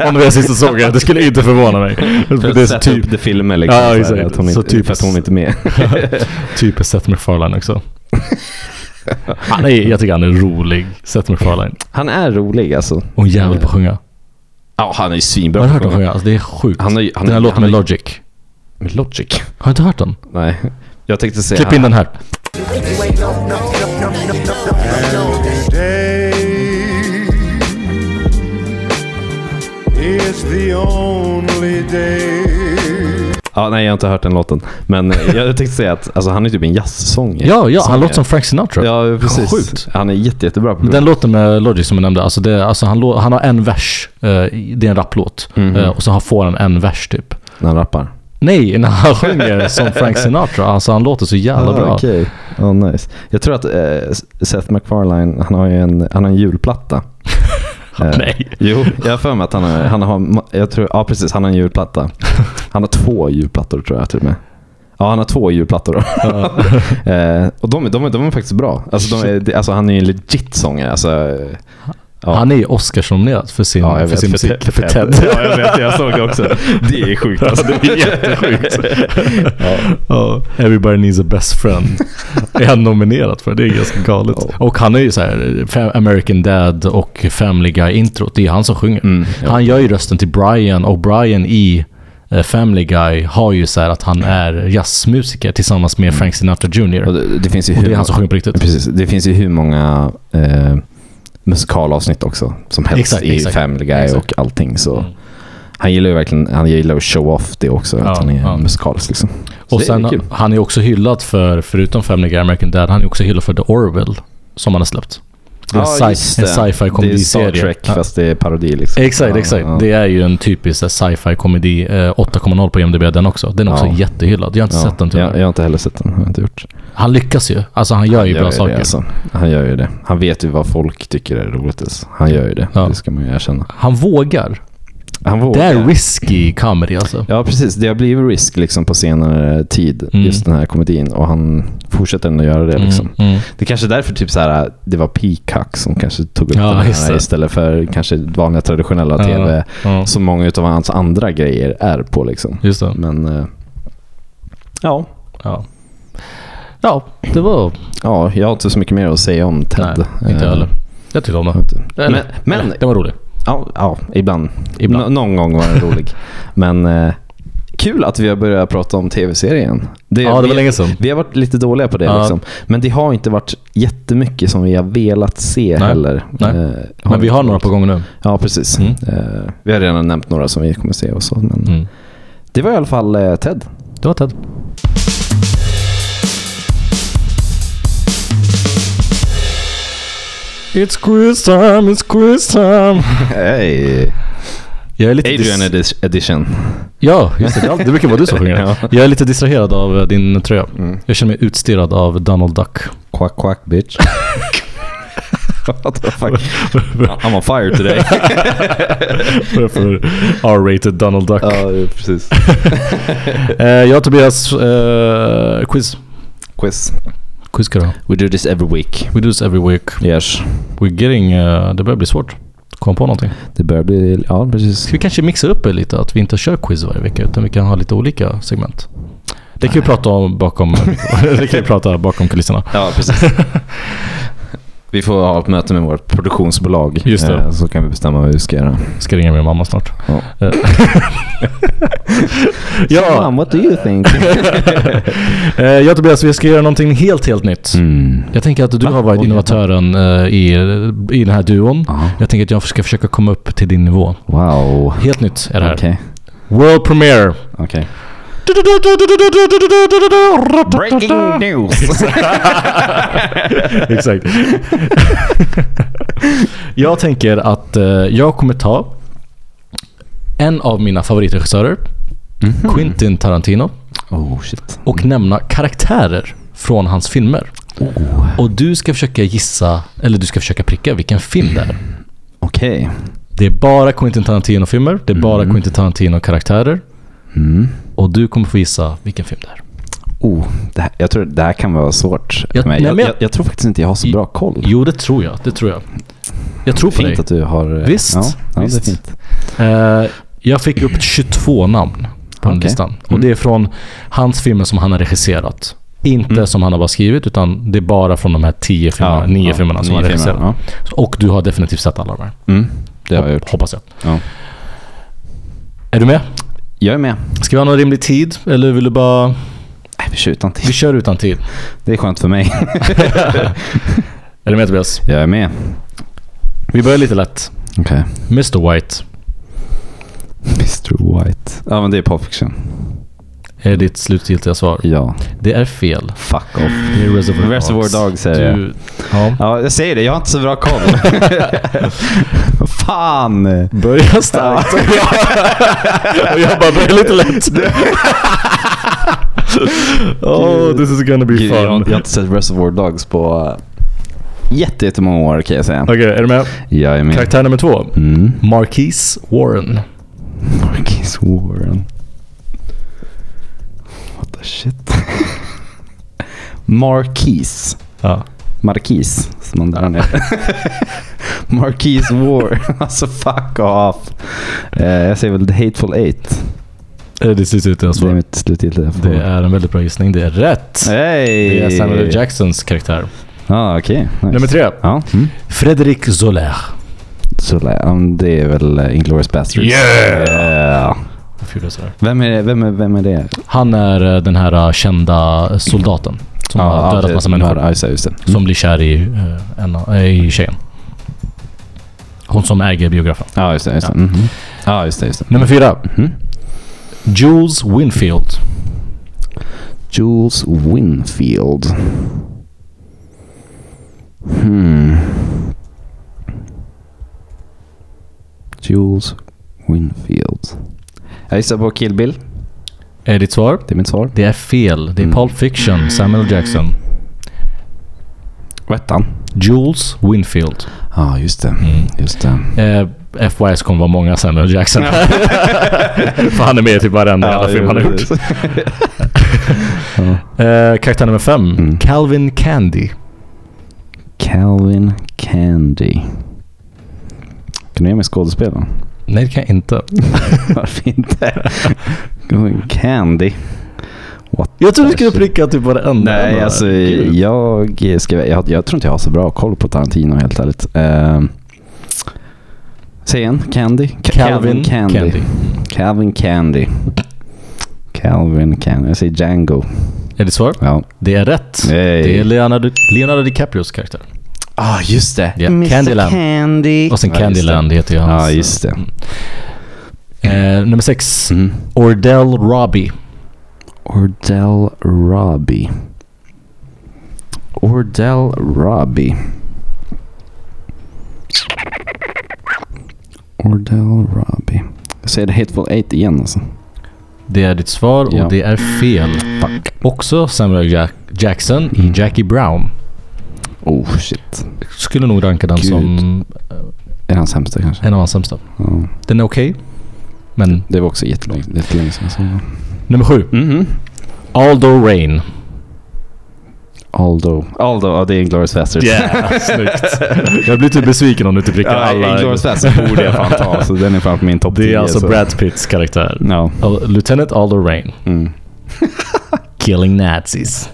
Speaker 8: om det är sista säsongen. Det skulle inte förvåna mig.
Speaker 2: För
Speaker 8: Det är så
Speaker 2: sätta
Speaker 8: typ,
Speaker 2: upp det filmen liksom.
Speaker 8: Ja,
Speaker 2: så här,
Speaker 8: exakt.
Speaker 2: Att hon inte,
Speaker 8: Så typ-
Speaker 2: för att hon inte är med.
Speaker 8: typ Seth MacFarlane också. Han är, jag tycker han är rolig, Seth MacFarlane.
Speaker 2: Han är rolig alltså.
Speaker 8: Och en jävel på att sjunga.
Speaker 2: Ja, han är ju
Speaker 8: Har
Speaker 2: svinbra.
Speaker 8: du hört honom sjunga? Alltså, det är sjukt.
Speaker 2: Han är ju- han
Speaker 8: den här
Speaker 2: är-
Speaker 8: låten
Speaker 2: han
Speaker 8: med
Speaker 2: är-
Speaker 8: Logic.
Speaker 2: Med Logic?
Speaker 8: Har du inte hört den?
Speaker 2: Nej. Jag tänkte säga...
Speaker 8: Klipp in den här.
Speaker 9: Day is the only day.
Speaker 2: Ja, nej, jag har inte hört den låten. Men eh, jag tänkte säga att alltså, han är typ en jazzsångare.
Speaker 8: Ja, ja han
Speaker 2: Sångare.
Speaker 8: låter som Frank Sinatra.
Speaker 2: Ja, precis.
Speaker 8: Sjukt.
Speaker 2: Han är jätte, jättebra på
Speaker 8: Den låten med Logic som jag nämnde, alltså det, alltså han, lå- han har en vers. eh, i- det är en rapplåt.
Speaker 2: Mhm.
Speaker 8: Eh, och så har- får han en vers typ.
Speaker 2: när han rappar.
Speaker 8: Nej, när han sjunger som Frank Sinatra. Alltså han låter så jävla bra.
Speaker 2: Ah, Okej. Ja, nice. Jag tror att eh, Seth MacFarlane, han har ju en, han har en julplatta. Eh,
Speaker 8: Nej.
Speaker 2: Jo, jag har för mig att han, har- han har, ma- jag tror, ja precis, han har en julplatta. Han har två julplattor tror jag till och med. Ja, han har två julplattor. eh, och de, de, de är faktiskt bra. Alltså, de är, det- alltså han är ju en legit sångare. Alltså, eh, ja.
Speaker 8: Han är ju Oscars-nominerad för sin,
Speaker 2: Ja, jag
Speaker 8: för
Speaker 2: vet.
Speaker 8: sin
Speaker 2: För
Speaker 8: musik.
Speaker 2: Ted-
Speaker 8: För
Speaker 2: för
Speaker 8: Ted.
Speaker 2: Ted. Ja, jag vet. Jag såg det också. Det är sjukt. Alltså, det är jättesjukt.
Speaker 8: Ja. Everybody needs a best friend. är han nominerad för. Det är ganska galet. Och han är ju så här, eh, Fa- American Dad och Family Guy-introt. Det är han som sjunger.
Speaker 2: Mm.
Speaker 8: Han gör ju rösten till Brian och Brian i eh, Family Guy har ju så här att han är jazzmusiker tillsammans med Frank Sinatra Jr.
Speaker 2: Mm. Och det, det finns ju
Speaker 8: Och
Speaker 2: hur
Speaker 8: det är han som
Speaker 2: många-
Speaker 8: sjunger på riktigt.
Speaker 2: Precis, det finns ju hur många eh, musikalavsnitt också som helst
Speaker 8: Exakt,
Speaker 2: i
Speaker 8: exakt.
Speaker 2: Family Guy
Speaker 8: Exakt.
Speaker 2: och allting. Så.
Speaker 8: Mm.
Speaker 2: Han gillar ju verkligen han gillar att show off det också,
Speaker 8: Ja,
Speaker 2: att han är
Speaker 8: ja.
Speaker 2: musikalisk. Liksom. Så
Speaker 8: Och
Speaker 2: det är
Speaker 8: sen,
Speaker 2: kul.
Speaker 8: han är också hyllad för, förutom Family Guy American Dad, han är också hyllad för The Orville som han har släppt. Det är en
Speaker 2: Ja, just
Speaker 8: sci- en
Speaker 2: det.
Speaker 8: sci-fi
Speaker 2: Det är Star
Speaker 8: komediserie.
Speaker 2: Trek
Speaker 8: Ja.
Speaker 2: fast det är parodi. Liksom.
Speaker 8: Exakt,
Speaker 2: Ja,
Speaker 8: exakt.
Speaker 2: ja.
Speaker 8: Det är ju en typisk så här, sci-fi komedi. Eh, 8,0 på IMDB den också. Den är också
Speaker 2: Ja.
Speaker 8: jättehyllad. Jag har inte
Speaker 2: Ja,
Speaker 8: sett den tyvärr.
Speaker 2: jag, jag har inte heller sett den. Har jag inte gjort.
Speaker 8: Han lyckas ju. Alltså han gör ju
Speaker 2: Han
Speaker 8: bra
Speaker 2: det,
Speaker 8: saker.
Speaker 2: alltså. Han gör ju det. Han vet ju vad folk tycker är roligt. alltså. Han gör ju det.
Speaker 8: Ja.
Speaker 2: Det ska man ju erkänna.
Speaker 8: Han vågar.
Speaker 2: Han
Speaker 8: Det
Speaker 2: vågar.
Speaker 8: är risky comedy alltså.
Speaker 2: Ja, precis. Det har blivit risk liksom, på senare tid,
Speaker 8: Mm.
Speaker 2: just den här komedin. Och han fortsätter ändå göra det. Liksom.
Speaker 8: Mm, mm.
Speaker 2: Det är kanske är därför typ så här, det var Peacock som kanske tog upp
Speaker 8: Ja,
Speaker 2: den
Speaker 8: just
Speaker 2: här
Speaker 8: det.
Speaker 2: istället för kanske vanliga traditionella
Speaker 8: Ja,
Speaker 2: tv.
Speaker 8: ja.
Speaker 2: Som många av hans andra grejer är på. Liksom.
Speaker 8: Just det.
Speaker 2: Men eh, ja.
Speaker 8: Ja. ja, det var...
Speaker 2: ja, jag har inte så mycket mer att säga om Ted.
Speaker 8: Nej, inte jag
Speaker 2: Eh,
Speaker 8: heller. Jag tyckte om
Speaker 2: jag
Speaker 8: det.
Speaker 2: vet inte. Men,
Speaker 8: Eller-
Speaker 2: men
Speaker 8: eller, Den var rolig.
Speaker 2: ja, ja, ibland.
Speaker 8: Ibland.
Speaker 2: Nå- någon gång var den rolig. men eh, kul att vi har börjat prata om tv-serien.
Speaker 8: Ja, det var
Speaker 2: vi-
Speaker 8: länge sedan.
Speaker 2: Vi har varit lite dåliga på det.
Speaker 8: Ja.
Speaker 2: Liksom. Men det har inte varit jättemycket som vi har velat se
Speaker 8: Nej.
Speaker 2: heller.
Speaker 8: Nej.
Speaker 2: Eh,
Speaker 8: Men vi
Speaker 2: inte
Speaker 8: har
Speaker 2: varit.
Speaker 8: några på gång nu.
Speaker 2: Ja, precis.
Speaker 8: Mm.
Speaker 2: Eh, vi har redan nämnt några som vi kommer se och så. Men
Speaker 8: Mm.
Speaker 2: Det var i alla fall eh, Ted.
Speaker 8: Det var Ted. It's quiz time, it's quiz time.
Speaker 2: Hey.
Speaker 8: Jag är lite
Speaker 2: Adrian
Speaker 8: dis-
Speaker 2: edi- edition.
Speaker 8: Ja, just det. Det är alltid- Det brukar vara du som sjunger.
Speaker 2: Ja. Mm.
Speaker 8: Jag är lite distraherad av eh, din tröja. Jag känner mig utstirrad av Donald Duck.
Speaker 2: Quack quack bitch. What the fuck? I'm on fire today.
Speaker 8: för R-rated Donald Duck.
Speaker 2: ja, precis.
Speaker 8: Eh, jag och Tobias, eh, quiz.
Speaker 2: Quiz.
Speaker 8: Quiz ska du ha.
Speaker 2: We do this every week.
Speaker 8: We do this every week.
Speaker 2: Yes.
Speaker 8: We're getting, eh, det börjar bli svårt. Kom på någonting.
Speaker 2: Det börjar bli... Ja, precis.
Speaker 8: Ska vi kanske mixa upp det lite? Att vi inte kör quiz varje vecka utan vi kan ha lite olika segment. Det kan vi prata om bakom, det kan vi prata bakom kulisserna.
Speaker 2: Ja, precis. Vi får ha ett möte med vårt produktionsbolag.
Speaker 8: Just det.
Speaker 2: eh, Så kan vi bestämma vad vi ska göra.
Speaker 8: Jag ska ringa min mamma snart.
Speaker 2: Ja.
Speaker 8: Eh. ja,
Speaker 2: Mom, what do you think?
Speaker 8: eh, jag och Tobias, vi ska göra någonting helt, helt nytt.
Speaker 2: Mm.
Speaker 8: Jag tänker att du har varit
Speaker 2: Oj.
Speaker 8: innovatören eh, i, i den här duon.
Speaker 2: Ja.
Speaker 8: Jag tänker att jag ska försöka komma upp till din nivå.
Speaker 2: Wow.
Speaker 8: Helt nytt är det här.
Speaker 2: Okej.
Speaker 8: World premiere.
Speaker 2: Okej. Breaking news!
Speaker 8: Exakt. jag tänker att eh, jag kommer ta en av mina favoritregissörer,
Speaker 2: Mhm.
Speaker 8: Quentin Tarantino,
Speaker 2: oh shit.
Speaker 8: och nämna karaktärer från hans filmer.
Speaker 2: Oh.
Speaker 8: Och du ska försöka gissa, eller du ska försöka pricka vilken film det är.
Speaker 2: Okej.
Speaker 8: Det är bara Quentin Tarantino-filmer, det är bara
Speaker 2: Mm.
Speaker 8: Quentin Tarantino-karaktärer. Och du kommer få gissa vilken film det är.
Speaker 2: Oh, det här, jag tror det här kan vara svårt.
Speaker 8: Jag-
Speaker 2: Jag, men
Speaker 8: nej,
Speaker 2: jag,
Speaker 8: men
Speaker 2: jag,
Speaker 8: jag-
Speaker 2: jag, tror faktiskt inte jag har så bra koll.
Speaker 8: Jo, det tror jag. Det tror jag. Jag tror på
Speaker 2: Fint
Speaker 8: dig.
Speaker 2: att du har... eh,
Speaker 8: Visst,
Speaker 2: Ja, ja det är
Speaker 8: visst.
Speaker 2: fint.
Speaker 8: Eh, jag fick upp 22 namn på den
Speaker 2: Okej. Mm.
Speaker 8: listan. Och det är från hans filmer som han har regisserat. Inte som han har bara skrivit, utan det är bara från de här 10 filmerna,
Speaker 2: Mm. Ja,
Speaker 8: 9
Speaker 2: ja,
Speaker 8: filmerna som
Speaker 2: nio
Speaker 8: han har regisserat.
Speaker 2: filmer,
Speaker 8: Och du har definitivt sett alla de här.
Speaker 2: Mm, det har jag gjort.
Speaker 8: Hoppas jag.
Speaker 2: Ja.
Speaker 8: Är du med?
Speaker 2: Jag är med.
Speaker 8: Ska vi ha någon rimlig tid? Eller vill du bara...
Speaker 2: Nej, vi kör utan tid.
Speaker 8: Vi kör utan tid.
Speaker 2: Det är skönt för mig.
Speaker 8: Är du med Tobias?
Speaker 2: Jag är med.
Speaker 8: Vi börjar lite lätt.
Speaker 2: Okej.
Speaker 8: Mr White.
Speaker 2: Mr White. Ja, men det är Pulp Fiction.
Speaker 8: Är ditt slutgiltiga svar?
Speaker 2: Ja.
Speaker 8: Det är fel.
Speaker 2: Fuck off.
Speaker 8: Det är Reservoir,
Speaker 2: Reservoir Dogs säger jag.
Speaker 8: Du, ja.
Speaker 2: Ja, jag säger det. Jag har inte så bra koll. Fan!
Speaker 8: Börja starkt. Och jag bara börjar lite lätt. oh, this is gonna be
Speaker 2: Gud, jag, har-
Speaker 8: fun.
Speaker 2: jag har inte sett Reservoir Dogs på eh, jätte, jättemånga år kan jag säga.
Speaker 8: Okej, är du med?
Speaker 2: Jag är med.
Speaker 8: Karaktär nummer två.
Speaker 2: Mm.
Speaker 8: Marquise Warren.
Speaker 2: Marcus Warren. What the shit? Marquis.
Speaker 8: Ja.
Speaker 2: Marquis, som man där nere. Marquis War. alltså fuck off. Eh, jag säger väl The Hateful Eight.
Speaker 8: Det är ditt slutgiltiga
Speaker 2: Det är
Speaker 8: svar.
Speaker 2: mitt slutgiltiga
Speaker 8: Det är en väldigt bra gissning. Det är rätt.
Speaker 2: Hey!
Speaker 8: Det är Samuel L. Jacksons karaktär.
Speaker 2: Ja, ah, okej. Nice.
Speaker 8: Nummer tre.
Speaker 2: Ja. Mm.
Speaker 8: Fredrik Zoller.
Speaker 2: Så lä- ja, men det är väl eh, Inglourious Basterds.
Speaker 8: Yeah!
Speaker 2: Yeah.
Speaker 8: Varför gjorde jag sådär?
Speaker 2: Vem är det? Vem är, vem är det?
Speaker 8: Han är eh, den här eh, kända soldaten som har dödat
Speaker 2: det-
Speaker 8: massa
Speaker 2: de här-
Speaker 8: människor.
Speaker 2: Ja, just det, just det.
Speaker 8: Som blir kär i, eh, en, av- eh, i tjejen. Hon som äger biografen.
Speaker 2: Ja, just det. Just det. Mhm. Ja, just det, just det.
Speaker 8: Nummer fyra.
Speaker 2: Mhm.
Speaker 8: Jules Winfield.
Speaker 2: Jules Winfield. Hmm. Jules Winfield. Jag gissar på Kill Bill.
Speaker 8: Är ditt svar?
Speaker 2: Det är mitt svar.
Speaker 8: Det är fel. Det
Speaker 2: Mm.
Speaker 8: är Pulp Fiction, Samuel Jackson.
Speaker 2: Rätt han.
Speaker 8: Jules Winfield.
Speaker 2: Ja, just det. Just det.
Speaker 8: Eh, FYS kommer vara många Samuel Jackson. För han är med i typ varenda jävla film han har gjort. Eh, karaktär nummer fem.
Speaker 2: Mm.
Speaker 8: Calvin Candy.
Speaker 2: Calvin Candy. Kan du ge mig skådespelaren?
Speaker 8: Nej, det kan jag inte.
Speaker 2: Varför inte? Candy. What
Speaker 8: Jag trodde du skulle
Speaker 2: the shit?
Speaker 8: pricka typ varenda.
Speaker 2: Nej, alltså
Speaker 8: Gud.
Speaker 2: jag, ska, jag, jag tror inte jag har så bra koll på Tarantino helt ärligt. Uh, säg igen, Candy? Ca-
Speaker 8: Calvin Candy.
Speaker 2: Calvin Candy. Calvin Candy. Jag säger Django.
Speaker 8: Är ditt svar?
Speaker 2: Ja.
Speaker 8: Det är rätt.
Speaker 2: Hey.
Speaker 8: Det är Leonardo, Leonardo DiCaprios karaktär.
Speaker 2: Ah, just det.
Speaker 8: Ja, Candyland.
Speaker 2: Candy.
Speaker 8: Och sen Candyland heter ju
Speaker 2: Ja,
Speaker 8: hans...
Speaker 2: ah, just det.
Speaker 8: Eh, nummer sex.
Speaker 2: Mm.
Speaker 8: Ordell Robbie.
Speaker 2: Ordell Robbie. Ordell Robbie. Ordell Robbie. Jag säger The Hateful Eight igen alltså.
Speaker 8: Det är ditt svar och
Speaker 2: Ja.
Speaker 8: det
Speaker 2: Mm.
Speaker 8: är fel. Också Samuel Jack- Jackson i Jackie Brown.
Speaker 2: Oh shit.
Speaker 8: Skulle nog ranka den
Speaker 2: Gud.
Speaker 8: som
Speaker 2: Är han sämsta kanske?
Speaker 8: en av hans sämsta.
Speaker 2: Ja.
Speaker 8: Den är okej. Men
Speaker 2: Det var också jättelänge, jättelänge sedan jag såg den.
Speaker 8: nummer sju.
Speaker 2: Mhm.
Speaker 8: Aldo Rain.
Speaker 2: Aldo. Aldo, ja det är Inglourious Basterds.
Speaker 8: Yeah, snyggt. Jag blir typ besviken om du inte prickar
Speaker 2: Ja,
Speaker 8: alla.
Speaker 2: Inglourious Basterds borde jag fan ta. Så den är fan på min topp 10.
Speaker 8: Det är alltså
Speaker 2: så.
Speaker 8: Brad Pitts karaktär.
Speaker 2: Ja.
Speaker 8: Al- Lieutenant Aldo Rain.
Speaker 2: Mm.
Speaker 8: Killing Nazis.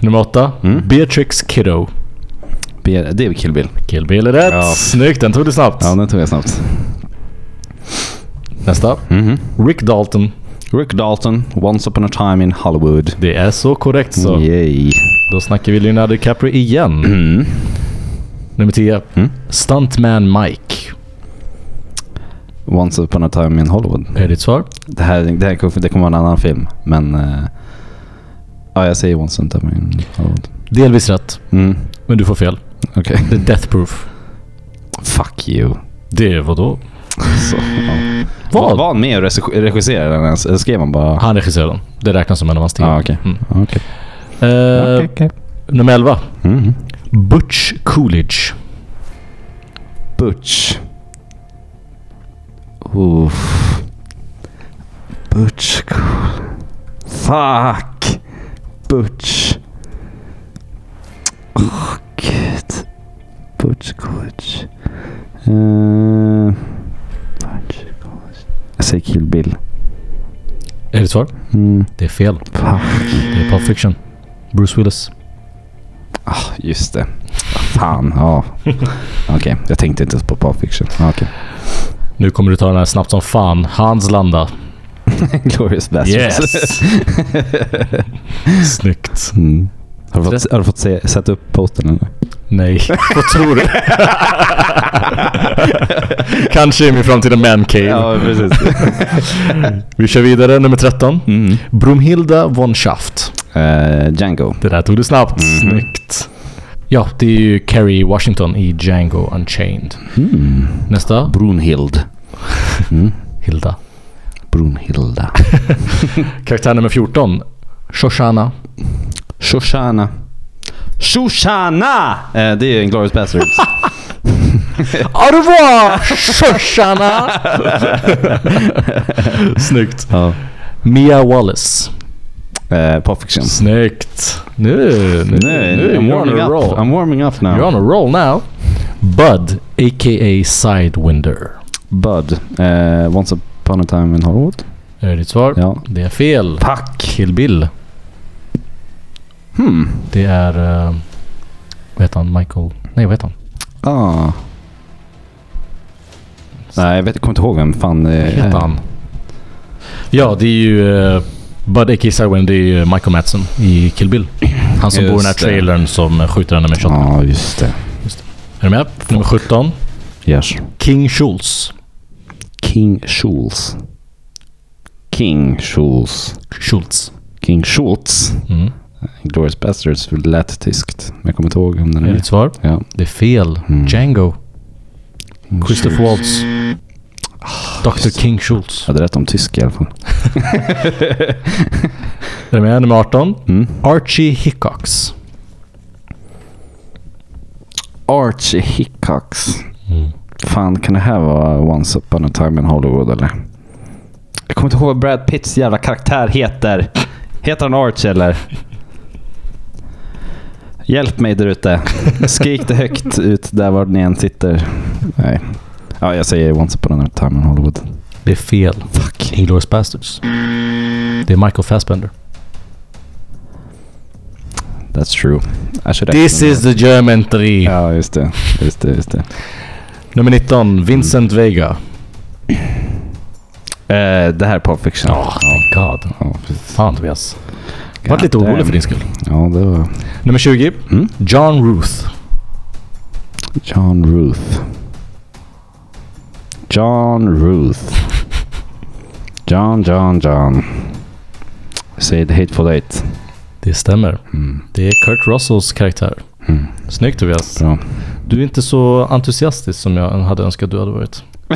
Speaker 8: Nummer åtta.
Speaker 2: Mm.
Speaker 8: Beatrix Kiddo.
Speaker 2: B- Det är Kill Bill.
Speaker 8: Kill Bill är rätt.
Speaker 2: Ja.
Speaker 8: Snyggt, den tog du snabbt.
Speaker 2: Ja, den tog jag snabbt.
Speaker 8: Nästa.
Speaker 2: Mhm.
Speaker 8: Rick Dalton.
Speaker 2: Rick Dalton, Once upon a time in Hollywood.
Speaker 8: Det är så korrekt så.
Speaker 2: Yay.
Speaker 8: Då snackar vi Leonardo DiCaprio igen.
Speaker 2: Mm.
Speaker 8: Nummer 10.
Speaker 2: Mm.
Speaker 8: Stuntman Mike.
Speaker 2: Once upon a time in Hollywood.
Speaker 8: Är det ditt svar?
Speaker 2: Det här, det här kommer- det kommer vara en annan film, men... eh, ja, jag säger Once upon a time in Hollywood.
Speaker 8: Delvis rätt,
Speaker 2: Mm,
Speaker 8: men du får fel.
Speaker 2: okej.
Speaker 8: Det är Death Proof.
Speaker 2: Fuck you.
Speaker 8: Det är vadå?
Speaker 2: Så, ja.
Speaker 8: Vad?
Speaker 2: Var han med och regi- regisserade den ens? Eller skrev han bara...
Speaker 8: Han regisserade den. Det räknas som en av hans tio.
Speaker 2: Ja, okej.
Speaker 8: Mm.
Speaker 2: Okej.
Speaker 8: Eh, Nummer 11.
Speaker 2: Mm.
Speaker 8: Butch Coolidge.
Speaker 2: Butch. Oof. Butch. Cool. Fuck. Butch. Åh, gud. Butch College. Uh, Butch College. Jag säger Kill Bill.
Speaker 8: Är det ditt svar?
Speaker 2: Mm.
Speaker 8: Det är fel.
Speaker 2: Fuck.
Speaker 8: Det är Pulp Fiction. Bruce Willis.
Speaker 2: Ah, just det. Fan, ja. Okej, jag tänkte inte ens på Pulp Fiction. Ah, Okej.
Speaker 8: Nu kommer du ta den här snabbt som fan. Hans landa.
Speaker 2: Glorious Bastards.
Speaker 8: Snyggt.
Speaker 2: Mm. Har du fått, har du fått se, sätta upp posten eller?
Speaker 8: Nej. Vad tror du? Kanske i min framtida man cave.
Speaker 2: precis.
Speaker 8: Vi kör vidare, nummer 13. Brumhilda von Schaft.
Speaker 2: Eh, Django.
Speaker 8: Det där tog du snabbt. Snyggt. Ja, det är ju Kerry Washington i Django Unchained. Mm. Nästa.
Speaker 2: Brunhild.
Speaker 8: Hilda.
Speaker 2: Brunhilda.
Speaker 8: Karaktär nummer 14. Shoshana.
Speaker 2: Shoshana. Shoshana! Eh, det är ju en Glorious Bastards.
Speaker 8: Au revoir, Shoshana! Snyggt.
Speaker 2: ja.
Speaker 8: Mia Wallace.
Speaker 2: eh, Pulp Fiction.
Speaker 8: Snyggt. Nu, nu, nu.
Speaker 2: I'm
Speaker 8: You're on
Speaker 2: warming
Speaker 8: a
Speaker 2: up.
Speaker 8: roll.
Speaker 2: I'm warming up now.
Speaker 8: You're on a roll now. Bud, a.k.a. Sidewinder.
Speaker 2: Bud. Eh, Once upon a time in Hollywood.
Speaker 8: Är det ditt svar?
Speaker 2: Ja.
Speaker 8: Det är fel.
Speaker 2: Fuck.
Speaker 8: Kill Bill.
Speaker 2: Hmm.
Speaker 8: Det är... eh, vad heter han? Michael... Nej, vad heter han?
Speaker 2: Ah. Nej, jag vet, kommer inte ihåg vem fan... eh,
Speaker 8: Vad heter han? Ja, det är ju... eh, Bud, a.k.a. Sidewinder, det är ju Michael Madsen i Kill Bill. Han som bor i den här
Speaker 2: Just det.
Speaker 8: trailern som skjuter henne med shotgun.
Speaker 2: Ja, ah, just det.
Speaker 8: Är du med? Nummer 17.
Speaker 2: Yes.
Speaker 8: King Schultz.
Speaker 2: King Schultz. King Schultz.
Speaker 8: Schultz.
Speaker 2: King Schultz.
Speaker 8: Mm.
Speaker 2: Glorious Bastards lät tyskt. Men jag kommer inte ihåg om den
Speaker 8: Är
Speaker 2: är
Speaker 8: det ditt svar?
Speaker 2: Ja.
Speaker 8: Det är fel. Django. Christopher Waltz. Dr. King Schultz.
Speaker 2: Jag hade rätt om tysk i alla fall.
Speaker 8: Är du med? Nummer 18.
Speaker 2: Mm.
Speaker 8: Archie Hickox.
Speaker 2: Archie Hickox.
Speaker 8: Mm.
Speaker 2: Fan, kan det här vara Once upon a time in Hollywood eller? Jag kommer inte ihåg vad Brad Pitts jävla karaktär heter. Heter han Archie eller? Hjälp mig där ute. Skrik det högt ut där var ni än sitter. Nej. Ja, jag säger Once upon a time in Hollywood.
Speaker 8: Det är fel. Fuck. Inglourious Bastards. Det är Michael Fassbender.
Speaker 2: That's true. I should
Speaker 8: This
Speaker 2: actually-
Speaker 8: is the German 3.
Speaker 2: Ja, just det. Just det, just det.
Speaker 8: Nummer 19. Vincent Vega.
Speaker 2: Eh, det här är Pulp Fiction.
Speaker 8: Oh, thank God.
Speaker 2: Ja,
Speaker 8: Fan Tobias. Jag vart lite orolig för din skull.
Speaker 2: Ja, det var...
Speaker 8: Nummer 20.
Speaker 2: Mm.
Speaker 8: John Ruth.
Speaker 2: John Ruth. John Ruth. John, John, John. Say the hateful eight.
Speaker 8: Det stämmer.
Speaker 2: Mm.
Speaker 8: Det är Kurt Russells karaktär.
Speaker 2: Mm.
Speaker 8: Snyggt Tobias.
Speaker 2: Bra.
Speaker 8: Du är inte så entusiastisk som jag hade önskat du hade varit.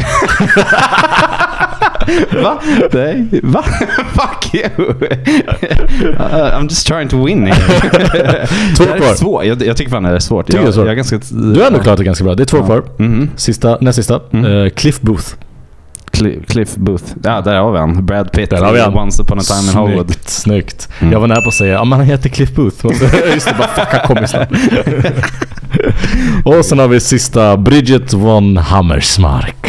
Speaker 2: Va? Nej. Va? Fuck you! Uh, I'm just trying to win here.
Speaker 8: Två
Speaker 2: Det här är
Speaker 8: kvar.
Speaker 2: svårt. Jag, jag tycker fan det här är svårt.
Speaker 8: Tycker
Speaker 2: jag,
Speaker 8: du det är svårt?
Speaker 2: Jag är ganska...
Speaker 8: Du har ändå klarat det ganska bra. Det är två kvar.
Speaker 2: Mhm.
Speaker 8: Sista, näst sista. Eh, Cliff Booth.
Speaker 2: Cli- Cliff Booth. Ja, där har vi han. Brad Pitt.
Speaker 8: Där har vi han.
Speaker 2: Once upon a time in Hollywood.
Speaker 8: Snyggt, snyggt. Jag var nära på att säga, ja men han heter Cliff Booth. Men så- Just det, bara fucka kompisarna. Och sen har vi sista, Bridget von Hammersmark.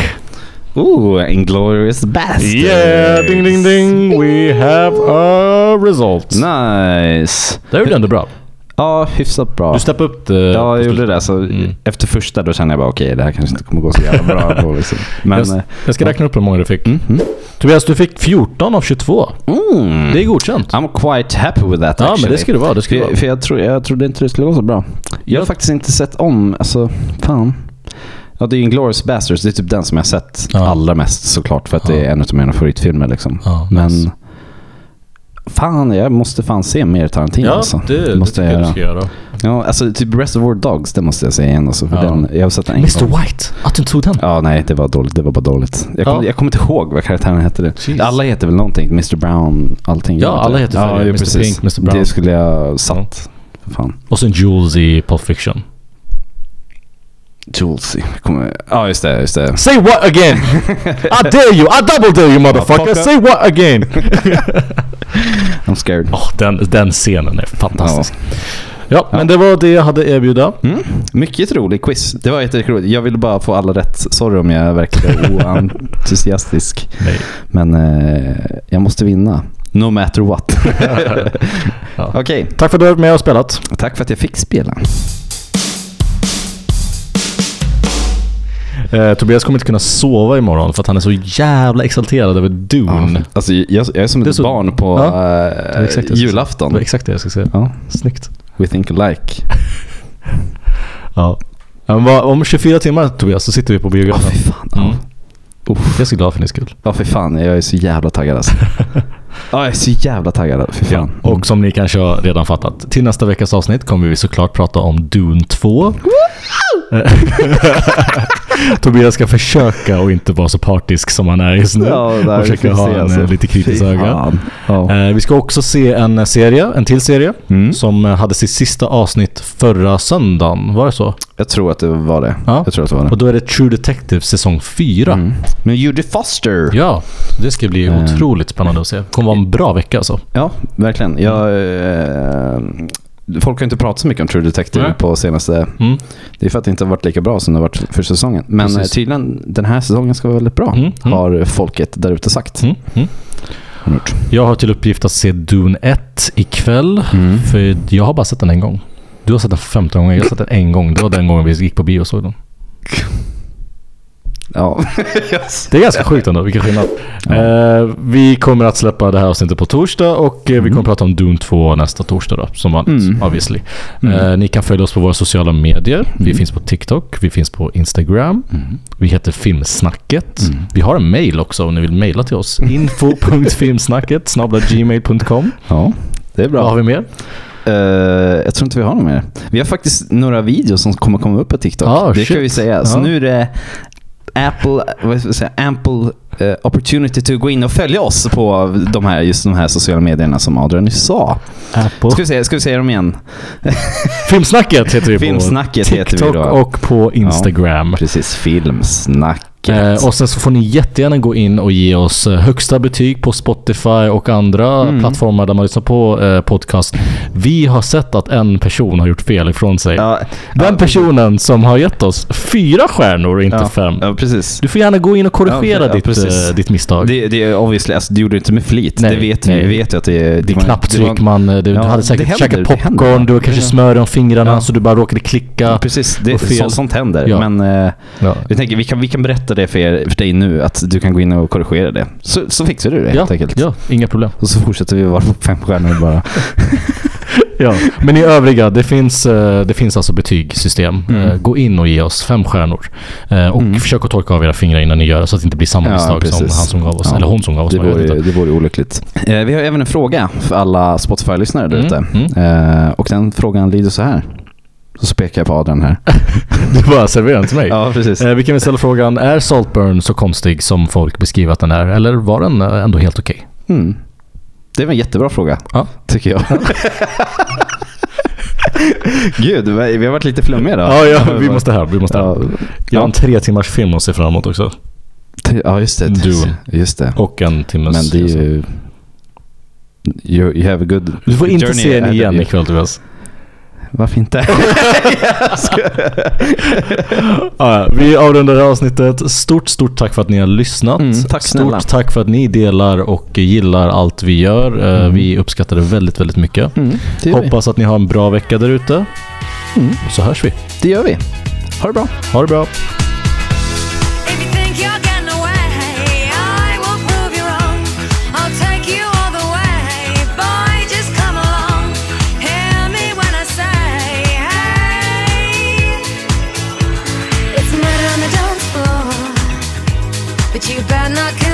Speaker 2: Ooh, Inglourious Bastard.
Speaker 8: Yeah, ding ding ding, we have a result.
Speaker 2: Nice.
Speaker 8: Det gjorde du ändå bra.
Speaker 2: Ja, hyfsat bra.
Speaker 8: Du steppade upp eh, det.
Speaker 2: Ja, jag gjorde det. Så
Speaker 8: Mm.
Speaker 2: Efter första då kände jag bara okej, det här kanske inte kommer gå så jävla bra. På, liksom. Men...
Speaker 8: jag,
Speaker 2: eh, mhm.
Speaker 8: jag ska räkna upp hur många du fick. Tobias, du fick 14 av 22. Det är godkänt.
Speaker 2: I'm quite happy with that
Speaker 8: Mm. Ja,
Speaker 2: actually.
Speaker 8: men det ska det vara. Det ska det vara.
Speaker 2: För, för jag, tror, jag trodde inte det skulle gå så bra. Jag har faktiskt inte sett om, alltså fan. Ja, det är ju Inglourious Basterds, det är typ den som jag har sett
Speaker 8: Ja.
Speaker 2: allra mest såklart för att det är en av mina favoritfilmer liksom.
Speaker 8: Ja,
Speaker 2: men
Speaker 8: nice.
Speaker 2: fan, jag måste fan se mer Tarantino alltså. måste jag göra.
Speaker 8: göra.
Speaker 2: Ja, alltså typ Reservoir Dogs, det måste jag säga igen alltså. För
Speaker 8: Ja.
Speaker 2: den, jag har sett den en
Speaker 8: Mr
Speaker 2: gång.
Speaker 8: White, att du tog den.
Speaker 2: Ja, nej, det var dåligt. Det var bara dåligt. Jag kommer
Speaker 8: Ja.
Speaker 2: jag kommer inte ihåg vad karaktären hette. Det.
Speaker 8: Jeez.
Speaker 2: Alla heter väl någonting? Mr Brown, allting.
Speaker 8: Ja,
Speaker 2: gör
Speaker 8: alla
Speaker 2: det.
Speaker 8: heter färger.
Speaker 2: ju
Speaker 8: Mr. Pink, Mr. Brown.
Speaker 2: Det skulle jag satt. Fan.
Speaker 8: Och sen Jules i Pulp Fiction.
Speaker 2: Julesy. Kommer... Ja, just det. Just det.
Speaker 8: Say what again? I dare you! I double dare you motherfucker! Say what again?
Speaker 2: I'm scared.
Speaker 8: Åh, den, den scenen är fantastisk. Ja. Mm. men det var det jag hade att erbjuda.
Speaker 2: Mycket rolig quiz. Det var jätteroligt. Jag ville bara få alla rätt. Sorry om jag verkar oentusiastisk.
Speaker 8: Nej.
Speaker 2: Men eh, jag måste vinna. No matter what.
Speaker 8: Ja.
Speaker 2: Okej,
Speaker 8: Tack för att du har varit med och spelat.
Speaker 2: tack för att jag fick spela.
Speaker 8: Eh, Tobias kommer inte kunna sova imorgon för att han är så jävla exalterad över Dune.
Speaker 2: Alltså, jag, jag är som
Speaker 8: Det är
Speaker 2: ett
Speaker 8: så-
Speaker 2: barn på
Speaker 8: Ja.
Speaker 2: eh,
Speaker 8: Det var exakt det jag skulle
Speaker 2: julafton.
Speaker 8: Det var exakt det jag skulle säga.
Speaker 2: Ja.
Speaker 8: Snyggt.
Speaker 2: We think alike.
Speaker 8: Ja. Ja, Men vad- om 24 timmar Tobias så sitter vi på
Speaker 2: Ja,
Speaker 8: biografen.
Speaker 2: fy fan.
Speaker 8: Mm. Jag är så glad för din skull.
Speaker 2: Ja, fy fan. Jag är så jävla taggad alltså. Ja, jag är så jävla taggad. Fy fan.
Speaker 8: Ja, och som ni kanske har redan fattat, till nästa veckas avsnitt kommer vi såklart prata om Dune 2. Tobias ska försöka och inte vara så partisk som han är just nu.
Speaker 2: där
Speaker 8: och försöka
Speaker 2: finns
Speaker 8: ha
Speaker 2: det,
Speaker 8: en
Speaker 2: alltså.
Speaker 8: eh, lite kritisk
Speaker 2: Fy
Speaker 8: öga.
Speaker 2: fan. Ja.
Speaker 8: Eh, Vi ska också se en serie, en till serie,
Speaker 2: Mm.
Speaker 8: som eh, hade sitt sista avsnitt förra söndagen. Var det så?
Speaker 2: Jag tror att det var det.
Speaker 8: Ja.
Speaker 2: Jag tror att det var
Speaker 8: Och
Speaker 2: det.
Speaker 8: då är det True Detective säsong 4.
Speaker 2: Mm. Eh. Men Judy Foster. Ja,
Speaker 8: Ja, det ska bli otroligt spännande att se. Det kommer vara en bra vecka alltså.
Speaker 2: verkligen. Jag, eh, folk har inte pratat så mycket om True Detective
Speaker 8: Nej.
Speaker 2: på senaste...
Speaker 8: Mm.
Speaker 2: Det är för att det inte har varit lika bra som det har varit för säsongen. Men
Speaker 8: Precis.
Speaker 2: eh, tydligen, den här säsongen ska vara väldigt bra.
Speaker 8: Mm, mm.
Speaker 2: Har folket där ute sagt.
Speaker 8: Mm. Mm.
Speaker 2: Har de gjort.
Speaker 8: Jag har till uppgift att se Dune 1 ikväll. För jag har bara sett den en gång. Du har sett den 15 gånger, jag har sett den en gång. Det var den gången vi gick på bio och såg den.
Speaker 2: Ja.
Speaker 8: Det är ganska sjukt ändå, vilken skillnad. Eh, vi kommer att släppa det här avsnittet på torsdag och
Speaker 2: Mm.
Speaker 8: eh, vi kommer att prata om Dune 2 nästa torsdag då, som vanligt. Obviously.
Speaker 2: Mm.
Speaker 8: Eh, ni kan följa oss på våra sociala medier. Vi finns på TikTok, vi finns på Instagram.
Speaker 2: Mm.
Speaker 8: Vi heter Filmsnacket. Vi har en mail också om ni vill mejla till oss.
Speaker 2: Mm.
Speaker 8: info.filmsnacket gmail.com.
Speaker 2: ja, det är bra.
Speaker 8: Vad har vi mer?
Speaker 2: Eh, jag tror inte vi har något mer. Vi har faktiskt några videos som kommer komma upp på TikTok.
Speaker 8: Ah,
Speaker 2: det
Speaker 8: shit.
Speaker 2: kan vi säga. Så
Speaker 8: Ja.
Speaker 2: nu är det Apple, vad ska jag säga, ample eh, opportunity to gå in och följa oss på de här, just de här sociala medierna som Adrian nyss sa.
Speaker 8: Apple.
Speaker 2: Ska vi säga, ska vi säga dem igen?
Speaker 8: Filmsnacket heter vi på
Speaker 2: Filmsnacket
Speaker 8: TikTok
Speaker 2: heter vi då.
Speaker 8: och på Instagram.
Speaker 2: Precis, filmsnacket.
Speaker 8: Eh, och sen så får ni jättegärna gå in och ge oss eh, högsta betyg på Spotify och andra
Speaker 2: Mm.
Speaker 8: plattformar där man lyssnar på eh, podcast. Vi har sett att en person har gjort fel ifrån sig.
Speaker 2: ja,
Speaker 8: Den personen som har gett oss fyra stjärnor och inte
Speaker 2: ja,
Speaker 8: fem.
Speaker 2: Ja, precis.
Speaker 8: Du får gärna gå in och
Speaker 2: Ja,
Speaker 8: korrigera
Speaker 2: pre- ja,
Speaker 8: ditt,
Speaker 2: precis.
Speaker 8: eh, ditt misstag. Det,
Speaker 2: Det, det är obviously, alltså, du gjorde det inte med flit.
Speaker 8: Nej,
Speaker 2: det vet vi.
Speaker 8: nej.
Speaker 2: Vi vet ju att det, det,
Speaker 8: är
Speaker 2: var- det
Speaker 8: knapptryck,
Speaker 2: var-
Speaker 8: man, eh, du,
Speaker 2: Ja,
Speaker 8: du hade
Speaker 2: det
Speaker 8: säkert
Speaker 2: händer,
Speaker 8: käkat
Speaker 2: det händer.
Speaker 8: popcorn, du har kanske
Speaker 2: Ja.
Speaker 8: smör om fingrarna
Speaker 2: Ja.
Speaker 8: så du bara råkade klicka.
Speaker 2: Precis, det,
Speaker 8: Och fel.
Speaker 2: så, sånt händer.
Speaker 8: Ja.
Speaker 2: Men eh,
Speaker 8: Ja.
Speaker 2: vi, tänker, vi, kan, vi kan berätta det för, er, för dig nu, att du kan gå in och korrigera det. Så, så fixar du det
Speaker 8: Ja,
Speaker 2: helt enkelt.
Speaker 8: ja, inga problem.
Speaker 2: Och så fortsätter vi vara på fem stjärnor bara.
Speaker 8: Ja. Men i övriga, det finns, eh, det finns alltså betygssystem.
Speaker 2: Mm.
Speaker 8: Eh, Gå in och ge oss fem stjärnor. Eh, Och
Speaker 2: Mm.
Speaker 8: försök att torka av era fingrar innan ni gör det så att det inte blir samma
Speaker 2: Ja,
Speaker 8: misstag som han
Speaker 2: precis.
Speaker 8: som gav oss.
Speaker 2: Ja.
Speaker 8: Eller hon som gav oss.
Speaker 2: Det
Speaker 8: jag vet
Speaker 2: vore,
Speaker 8: inte.
Speaker 2: det vore olyckligt. Eh, vi har även en fråga för alla Spotify-lyssnare där
Speaker 8: Mm,
Speaker 2: ute. Eh, och den frågan lyder så här. Så pekar jag på Adrian här.
Speaker 8: Du bara serverar den till mig.
Speaker 2: Ja, precis.
Speaker 8: Eh, vi kan väl ställa frågan, är Saltburn så konstig som folk beskriver att den är? Eller var den eh, ändå helt okej?
Speaker 2: Mm. Det var en jättebra fråga,
Speaker 8: Ja.
Speaker 2: tycker jag. Gud, vi vi har varit lite flummiga idag.
Speaker 8: Ja, ja, vi måste här. Vi måste här.
Speaker 2: Ja,
Speaker 8: Jag har en tre timmars film att se fram emot också.
Speaker 2: t- ja just det.
Speaker 8: Dune.
Speaker 2: Just det.
Speaker 8: Och en timmes...
Speaker 2: Men det är ju... You, you have a good
Speaker 8: Du får inte
Speaker 2: journey
Speaker 8: se den
Speaker 2: ahead of
Speaker 8: igen
Speaker 2: you.
Speaker 8: ikväll Tobias.
Speaker 2: Varför inte?
Speaker 8: Ja, vi avrundar det här avsnittet. Stort, stort tack för att ni har lyssnat.
Speaker 2: Mm, tack snälla.
Speaker 8: Stort tack för att ni delar och gillar allt vi gör. Eh, Vi uppskattar det väldigt, väldigt mycket.
Speaker 2: Mm, det, gör vi. Mm.
Speaker 8: Hoppas att ni har en bra vecka där ute. Så hörs vi.
Speaker 2: det gör vi. Ha det bra.
Speaker 8: Ha det bra.
Speaker 5: If you think you're getting away, I will prove you wrong. I'll take you all the way, boy. Just come along. Hear me when I say, hey. It's murder on the dance floor, but you better not kill